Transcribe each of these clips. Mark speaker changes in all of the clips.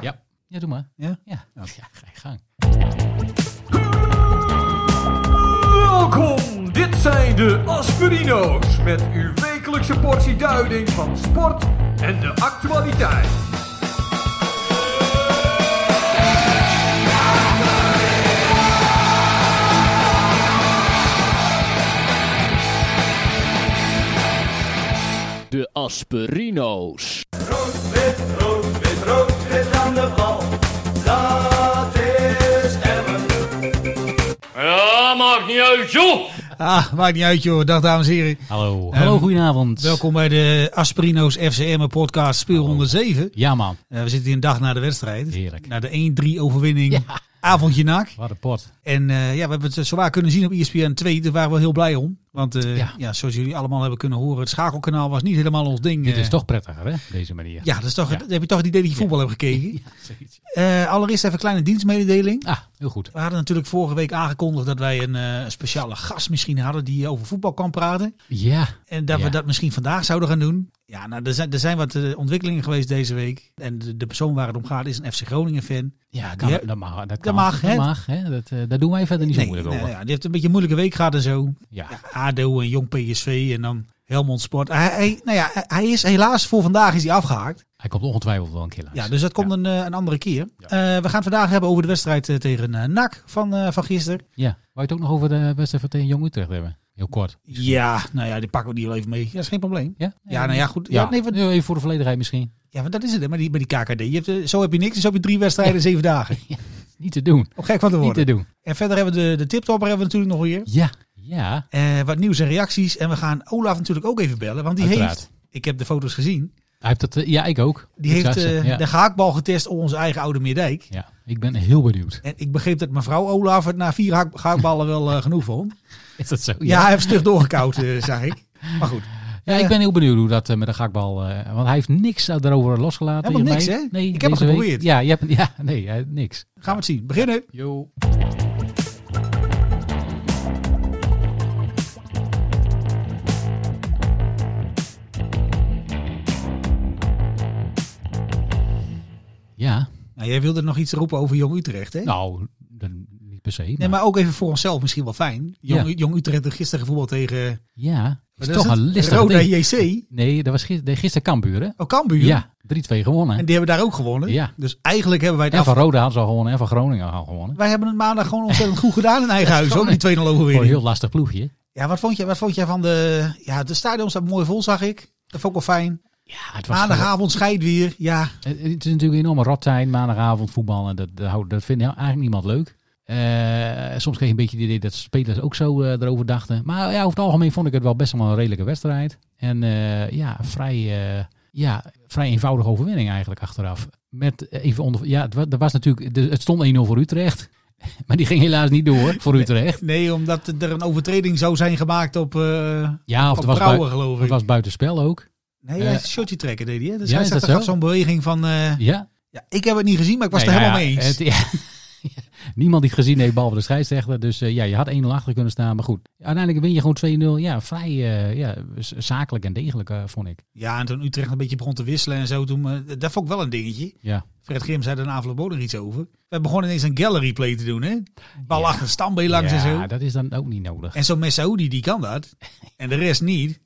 Speaker 1: Ja, doe maar.
Speaker 2: Ja?
Speaker 1: Ja,
Speaker 2: Ja.
Speaker 1: ja ga je gang.
Speaker 3: Welkom, dit zijn de Aspirino's met uw wekelijkse portie duiding van sport en de actualiteit.
Speaker 4: De Asperino's.
Speaker 2: Ah, maakt niet uit joh. Dag dames en heren.
Speaker 1: Hallo. Hallo,
Speaker 2: Ehm,
Speaker 1: goedenavond.
Speaker 2: Welkom bij de Asperino's FCM podcast speelronde 7.
Speaker 1: Ja, man.
Speaker 2: Eh, we zitten hier een dag na de wedstrijd.
Speaker 1: Heerlijk.
Speaker 2: Na de 1-3 overwinning.
Speaker 1: Ja.
Speaker 2: Avondje nak.
Speaker 1: Wat een pot.
Speaker 2: En eh, ja, we hebben het zowaar kunnen zien op E ESPN 2. Daar waren we heel blij om. Want eh,
Speaker 1: Ja.
Speaker 2: ja. zoals jullie allemaal hebben kunnen horen, het schakelkanaal was niet helemaal ons ding.
Speaker 1: Dit
Speaker 2: eh.
Speaker 1: is toch prettiger, hè? op Deze manier.
Speaker 2: Ja, dat is toch,
Speaker 1: Ja.
Speaker 2: dan heb je toch het idee dat je voetbal hebt gekeken.
Speaker 1: Ja, zoiets.
Speaker 2: Eh, allereerst even een kleine dienstmededeling.
Speaker 1: Ah, heel goed.
Speaker 2: We hadden natuurlijk vorige week aangekondigd dat wij een eh, speciale gast misschien hadden die eh, over voetbal kan praten.
Speaker 1: Ja.
Speaker 2: En dat
Speaker 1: Ja.
Speaker 2: we dat misschien vandaag zouden gaan doen. Ja, nou, er zijn, er zijn wat eh, ontwikkelingen geweest deze week. En de, de persoon waar het om gaat is een FC Groningen fan.
Speaker 1: Ja, kan,
Speaker 2: Ja.
Speaker 1: dat mag. Dat, kan,
Speaker 2: mag,
Speaker 1: dat
Speaker 2: hè?
Speaker 1: mag, hè? Dat, eh, daar doen wij verder niet zo moeilijk over.
Speaker 2: ja, die heeft een beetje een moeilijke week gehad en zo.
Speaker 1: Ja.
Speaker 2: Ja, ADO en Jong PSV en dan Helmond Sport. Hij, hij- nou ja, hij- hij is helaas voor vandaag is hij afgehaakt.
Speaker 1: Hij komt ongetwijfeld wel een keer langs.
Speaker 2: Ja, dus dat komt
Speaker 1: Ja.
Speaker 2: een, eh, een andere keer. Eh, we gaan het vandaag hebben over de wedstrijd eh, tegen eh, NAC van, eh, van gisteren.
Speaker 1: Ja. Wou je het ook nog over de wedstrijd tegen Jong Utrecht hebben? Heel kort.
Speaker 2: Ja, nou ja, die pakken we die wel even mee. Ja, is geen probleem.
Speaker 1: Ja?
Speaker 2: Ja, nou ja, goed. Ja,
Speaker 1: Ja,
Speaker 2: nee, wat-
Speaker 1: even voor de volledigheid misschien.
Speaker 2: ja want dat is het, hè, maar die, bij die KKD. Je hebt, eh, zo heb je niks, en zo heb je drie wedstrijden in zeven dagen.
Speaker 1: Niet te doen.
Speaker 2: Om gek van te
Speaker 1: Niet te
Speaker 2: worden.
Speaker 1: doen.
Speaker 2: En verder hebben we de, de tiptopper hebben we natuurlijk nog weer.
Speaker 1: Ja. Ja.
Speaker 2: Eh, wat nieuws en reacties. En we gaan Olaf natuurlijk ook even bellen, want die
Speaker 1: Uiteraard.
Speaker 2: heeft... Ik heb de foto's gezien.
Speaker 1: Hij heeft dat, eh, ja, ik ook.
Speaker 2: Die
Speaker 1: Ik
Speaker 2: heeft
Speaker 1: zag ze,
Speaker 2: eh,
Speaker 1: ja.
Speaker 2: de gehaakbal getest op onze eigen oude Meerdijk.
Speaker 1: ja, ik ben heel benieuwd.
Speaker 2: En ik begreep dat mevrouw Olaf het na vier haak- gehaakballen wel eh, genoeg vond.
Speaker 1: Is dat zo?
Speaker 2: Ja, hij heeft stug doorgekoud, eh, zag ik. Maar goed.
Speaker 1: Ja, ik ben heel benieuwd hoe dat eh, met de gakbal. eh, want hij heeft niks daarover losgelaten.
Speaker 2: Helemaal
Speaker 1: hiermee.
Speaker 2: niks, hè?
Speaker 1: Nee,
Speaker 2: Ik heb het
Speaker 1: deze week-
Speaker 2: geprobeerd.
Speaker 1: Ja, je hebt, ja, nee, eh, niks.
Speaker 2: Gaan we het zien. Beginnen.
Speaker 1: Yo. Ja,
Speaker 2: Nou, jij wilde nog iets roepen over Jong Utrecht, hè?
Speaker 1: nou, dan niet per se.
Speaker 2: Nee,
Speaker 1: maar-
Speaker 2: maar ook even voor onszelf misschien wel fijn. Jong, Jong Utrecht heeft gisteren gevoetbald tegen
Speaker 1: ja,
Speaker 2: wat
Speaker 1: is toch
Speaker 2: het?
Speaker 1: een listig
Speaker 2: Roda
Speaker 1: ding.
Speaker 2: JC.
Speaker 1: Nee, dat was gisteren, nee, gisteren Kambuur, hè?
Speaker 2: Oh, Cambuur.
Speaker 1: Ja, 3-2 gewonnen.
Speaker 2: En die hebben daar ook gewonnen.
Speaker 1: Ja.
Speaker 2: Dus eigenlijk hebben wij het
Speaker 1: En van
Speaker 2: af...
Speaker 1: Rode hadden ze al gewonnen en van Groningen al gewonnen.
Speaker 2: Wij hebben het maandag gewoon ontzettend goed gedaan in eigen huis. Ook
Speaker 1: gewoon Oh,
Speaker 2: die 2-0
Speaker 1: Voor een
Speaker 2: overwinning.
Speaker 1: heel lastig ploegje.
Speaker 2: Ja, wat vond, je, wat vond jij van de... Ja, de stadion staat mooi vol, zag ik. Dat vond ik wel fijn.
Speaker 1: Ja, het was gewoon-
Speaker 2: Maandagavond scheid weer. Ja,
Speaker 1: het het is natuurlijk een enorme rottijd, maandagavond voetbal. En dat, dat, houdt- dat vindt eigenlijk niemand leuk. Eh, soms kreeg je een beetje het idee dat spelers ook zo eh, erover dachten. Maar ja, over het algemeen vond ik het wel best wel een redelijke wedstrijd. En eh, ja, vrij, eh, ja, vrij eenvoudige overwinning eigenlijk achteraf. Met eh, even onder, ja, het, wa- er was natuurlijk, de- het stond 1-0 voor Utrecht. Maar die ging helaas niet door voor Utrecht.
Speaker 2: nee, omdat er een overtreding zou zijn gemaakt op, eh
Speaker 1: Ja, of
Speaker 2: op
Speaker 1: het was, bui,
Speaker 2: Brouwer, geloof ik.
Speaker 1: het was buitenspel ook.
Speaker 2: Nee, hij
Speaker 1: eh,
Speaker 2: is shortje trekken deed hij. hè? Dus
Speaker 1: ja,
Speaker 2: hij
Speaker 1: is
Speaker 2: zag
Speaker 1: dat
Speaker 2: er
Speaker 1: zo?
Speaker 2: gaf zo'n beweging van... eh,
Speaker 1: Ja,
Speaker 2: ja, ik heb het niet gezien, maar ik was
Speaker 1: Nee,
Speaker 2: er
Speaker 1: nou
Speaker 2: helemaal mee
Speaker 1: ja,
Speaker 2: eens.
Speaker 1: het- ja, niemand die het gezien heeft, behalve de scheidsrechter. Dus eh, ja, je had 1-0 achter kunnen staan. Maar goed, uiteindelijk win je gewoon 2-0. Ja, vrij eh, ja, z- zakelijk en degelijk, eh, vond ik.
Speaker 2: Ja, en toen Utrecht een beetje begon te wisselen en zo, toen, eh, dat vond ik wel een dingetje.
Speaker 1: Ja.
Speaker 2: Fred Grim zei er na afloop ook nog iets over. We begonnen ineens een gallery play te doen, hè? Bal
Speaker 1: Ja.
Speaker 2: achter standbeen langs
Speaker 1: ja,
Speaker 2: en zo.
Speaker 1: dat is dan ook niet nodig.
Speaker 2: En zo'n Messaoudi, die kan dat. En de rest niet.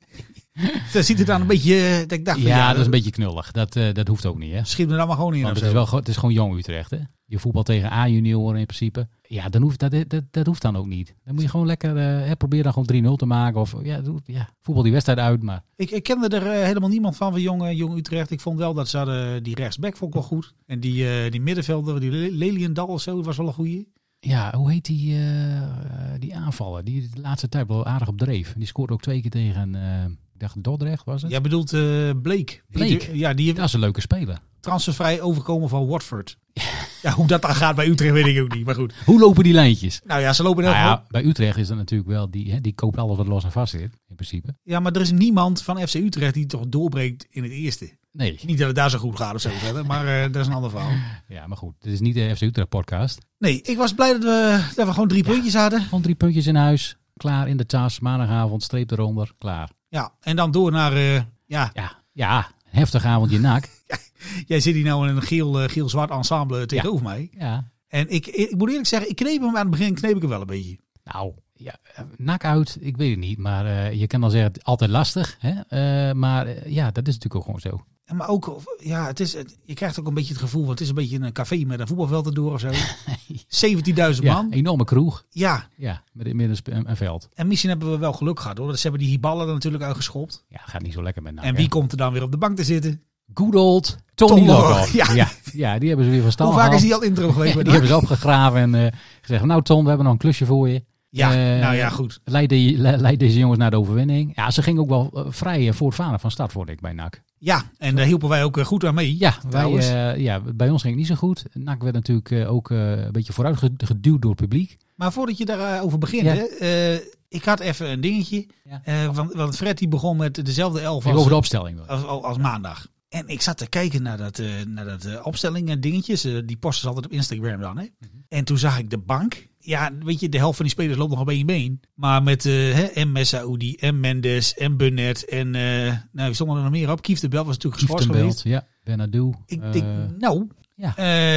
Speaker 2: dat ziet het dan een beetje, eh, dat ik dacht van,
Speaker 1: ja, dat is een beetje knullig. Dat, eh, dat hoeft ook niet, hè.
Speaker 2: Schiet me dan maar gewoon in
Speaker 1: Want
Speaker 2: of
Speaker 1: het is,
Speaker 2: zo.
Speaker 1: wel, gewoon- het is gewoon jong Utrecht, hè. Je voetbal tegen A-junioren in principe. Ja, dan hoeft, dat, dat, dat hoeft dan ook niet. Dan moet je gewoon lekker eh, hè, proberen dan gewoon 3-0 te maken. Of ja, doe- ja, voetbal die wedstrijd uit, maar...
Speaker 2: Ik, ik kende er eh, helemaal niemand van, van jong, eh, jong Utrecht. Ik vond wel dat ze hadden, die rechtsback vond ik wel goed. En die, eh, die middenvelder, die Le- Leliendal of zo, dat was wel een goeie.
Speaker 1: Ja, hoe heet die, eh, eh, die aanvaller? Die de laatste tijd wel aardig op dreef. Die scoorde ook twee keer tegen, eh, ik dacht Dordrecht was het?
Speaker 2: Jij bedoelt eh Blake. Die-
Speaker 1: Blake?
Speaker 2: ja, die,
Speaker 1: Dat is een leuke speler.
Speaker 2: transfervrij overkomen van Watford. Ja, hoe dat dan gaat bij Utrecht weet ik ook niet, maar goed.
Speaker 1: Hoe lopen die lijntjes?
Speaker 2: Nou ja, ze lopen heel
Speaker 1: Nou
Speaker 2: ja.
Speaker 1: ja, bij Utrecht is dat natuurlijk wel, die, hè, die koopt alles wat los en vast zit, in principe.
Speaker 2: ja, maar er is niemand van FC Utrecht die toch doorbreekt in het eerste.
Speaker 1: Nee,
Speaker 2: Niet dat het daar zo goed gaat of zo verder, maar eh, dat is een ander verhaal.
Speaker 1: ja, maar goed, dit is niet de FC Utrecht podcast.
Speaker 2: Nee, ik was blij dat we, dat we gewoon drie puntjes hadden.
Speaker 1: Gewoon drie puntjes in huis, klaar in de tas, maandagavond, streep eronder, klaar.
Speaker 2: Ja, en dan door naar... eh, ja,
Speaker 1: Ja, ja, heftig avondje nak.
Speaker 2: Jij zit hier nou in een geel, eh, geel-zwart ensemble tegenover mij.
Speaker 1: Ja.
Speaker 2: En ik, ik, ik moet eerlijk zeggen, ik kneep hem aan het begin kneep ik hem wel een beetje.
Speaker 1: Nou, ja, eh, nak uit, ik weet het niet. Maar eh, je kan dan zeggen, het is altijd lastig. Hè? Eh, maar eh, ja, dat is natuurlijk ook gewoon zo.
Speaker 2: Ja, Maar ook, ja, het is, het- je krijgt ook een beetje het gevoel, want het is een beetje een café met een voetbalveld erdoor of zo. 17.000
Speaker 1: Ja,
Speaker 2: man.
Speaker 1: enorme kroeg.
Speaker 2: Ja,
Speaker 1: Ja, met, met een, sp- een, een veld.
Speaker 2: en misschien hebben we wel geluk gehad hoor. Dus ze hebben die hiballen er natuurlijk uitgeschopt.
Speaker 1: Ja, gaat niet zo lekker met nak.
Speaker 2: en
Speaker 1: hè?
Speaker 2: wie komt er dan weer op de bank te zitten?
Speaker 1: Good old Tony
Speaker 2: Tony
Speaker 1: Lokhoff.
Speaker 2: Lokhoff, ja.
Speaker 1: Ja. Ja, die hebben ze weer van stal
Speaker 2: Hoe vaak is
Speaker 1: gehaald.
Speaker 2: die al interim geweest?
Speaker 1: Ja,
Speaker 2: bij
Speaker 1: die
Speaker 2: NAC?
Speaker 1: hebben ze opgegraven en eh, gezegd, nou Tom, we hebben nog een klusje voor je.
Speaker 2: ja,
Speaker 1: eh,
Speaker 2: nou ja, goed.
Speaker 1: Leid, die- le- leid deze jongens naar de overwinning. Ja, ze gingen ook wel eh, vrij eh, voortvarend van start, vond ik, bij NAC.
Speaker 2: Ja, en daar hielpen wij ook eh, goed aan mee.
Speaker 1: Ja, wij,
Speaker 2: Trouwens.
Speaker 1: eh, ja, bij ons ging het niet zo goed. NAC werd natuurlijk eh, ook eh, een beetje vooruit ge- geduwd door het publiek.
Speaker 2: Maar voordat je daarover begint,
Speaker 1: Ja.
Speaker 2: hè, eh, ik had even een dingetje.
Speaker 1: Ja.
Speaker 2: Eh, want, want Fred die begon met dezelfde elf als,
Speaker 1: over de opstelling. wel.
Speaker 2: als, als maandag. En ik zat te kijken naar dat, eh, naar dat eh, opstelling en dingetjes. Eh, die posten ze altijd op Instagram dan. Hè?
Speaker 1: Mhm.
Speaker 2: En toen zag ik de bank. Ja, weet je, de helft van die spelers loopt nog op één been. Maar met eh hè, en Messaoudi en Mendes en Burnett en... eh nou, wie stond er nog meer op? Kief de Bel was natuurlijk geschorst
Speaker 1: Kieftenbelt,
Speaker 2: geweest.
Speaker 1: ja, Bernadou.
Speaker 2: Ik
Speaker 1: eh,
Speaker 2: denk, nou...
Speaker 1: ja.
Speaker 2: eh,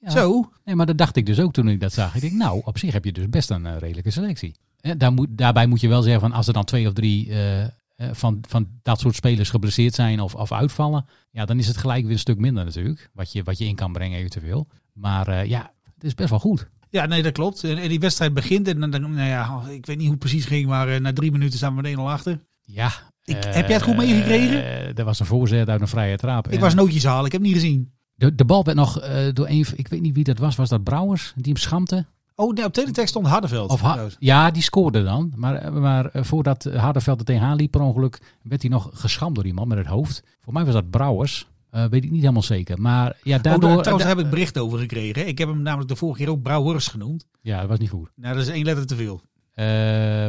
Speaker 1: ja.
Speaker 2: Zo,
Speaker 1: Nee, maar dat dacht ik dus ook toen ik dat zag. Ik denk, nou, op zich heb je dus best een eh, redelijke selectie. Eh, daar moet, daarbij moet je wel zeggen, van als er dan twee of drie eh, eh, van, van dat soort spelers geblesseerd zijn of, of uitvallen, ja, dan is het gelijk weer een stuk minder natuurlijk, wat je, wat je in kan brengen eventueel. Maar eh, ja, het is best wel goed.
Speaker 2: Ja, nee, dat klopt. En, en die wedstrijd begint. En dan, dan- nou ja, ik weet niet hoe het precies ging, maar eh, na drie minuten staan we met 1-0 achter.
Speaker 1: Ja.
Speaker 2: Ik-
Speaker 1: eh,
Speaker 2: heb jij het goed meegekregen?
Speaker 1: eh, er was een voorzet uit een vrije trap.
Speaker 2: Ik was nootjes halen, ik heb hem niet gezien.
Speaker 1: de, de bal werd nog eh, door een, van- ik weet niet wie dat was, was dat Brouwers, die hem schampte?
Speaker 2: Oh, nee, op teletext stond Hardenveld.
Speaker 1: Of ha-
Speaker 2: Trouwens.
Speaker 1: ja, die scoorde dan. Maar, eh, maar eh, voordat Hardenveld er tegenaan liep per ongeluk, werd hij nog geschamd door iemand met het hoofd. Voor mij was dat Brouwers. Eh, weet ik niet helemaal zeker. Maar ja, daardoor...
Speaker 2: Oh, daar- trouwens,
Speaker 1: da-
Speaker 2: daar heb ik bericht over gekregen. Ik heb hem namelijk de vorige keer ook Brouwers genoemd.
Speaker 1: ja, dat was niet goed.
Speaker 2: Nou, dat is één letter te veel.
Speaker 1: Eh,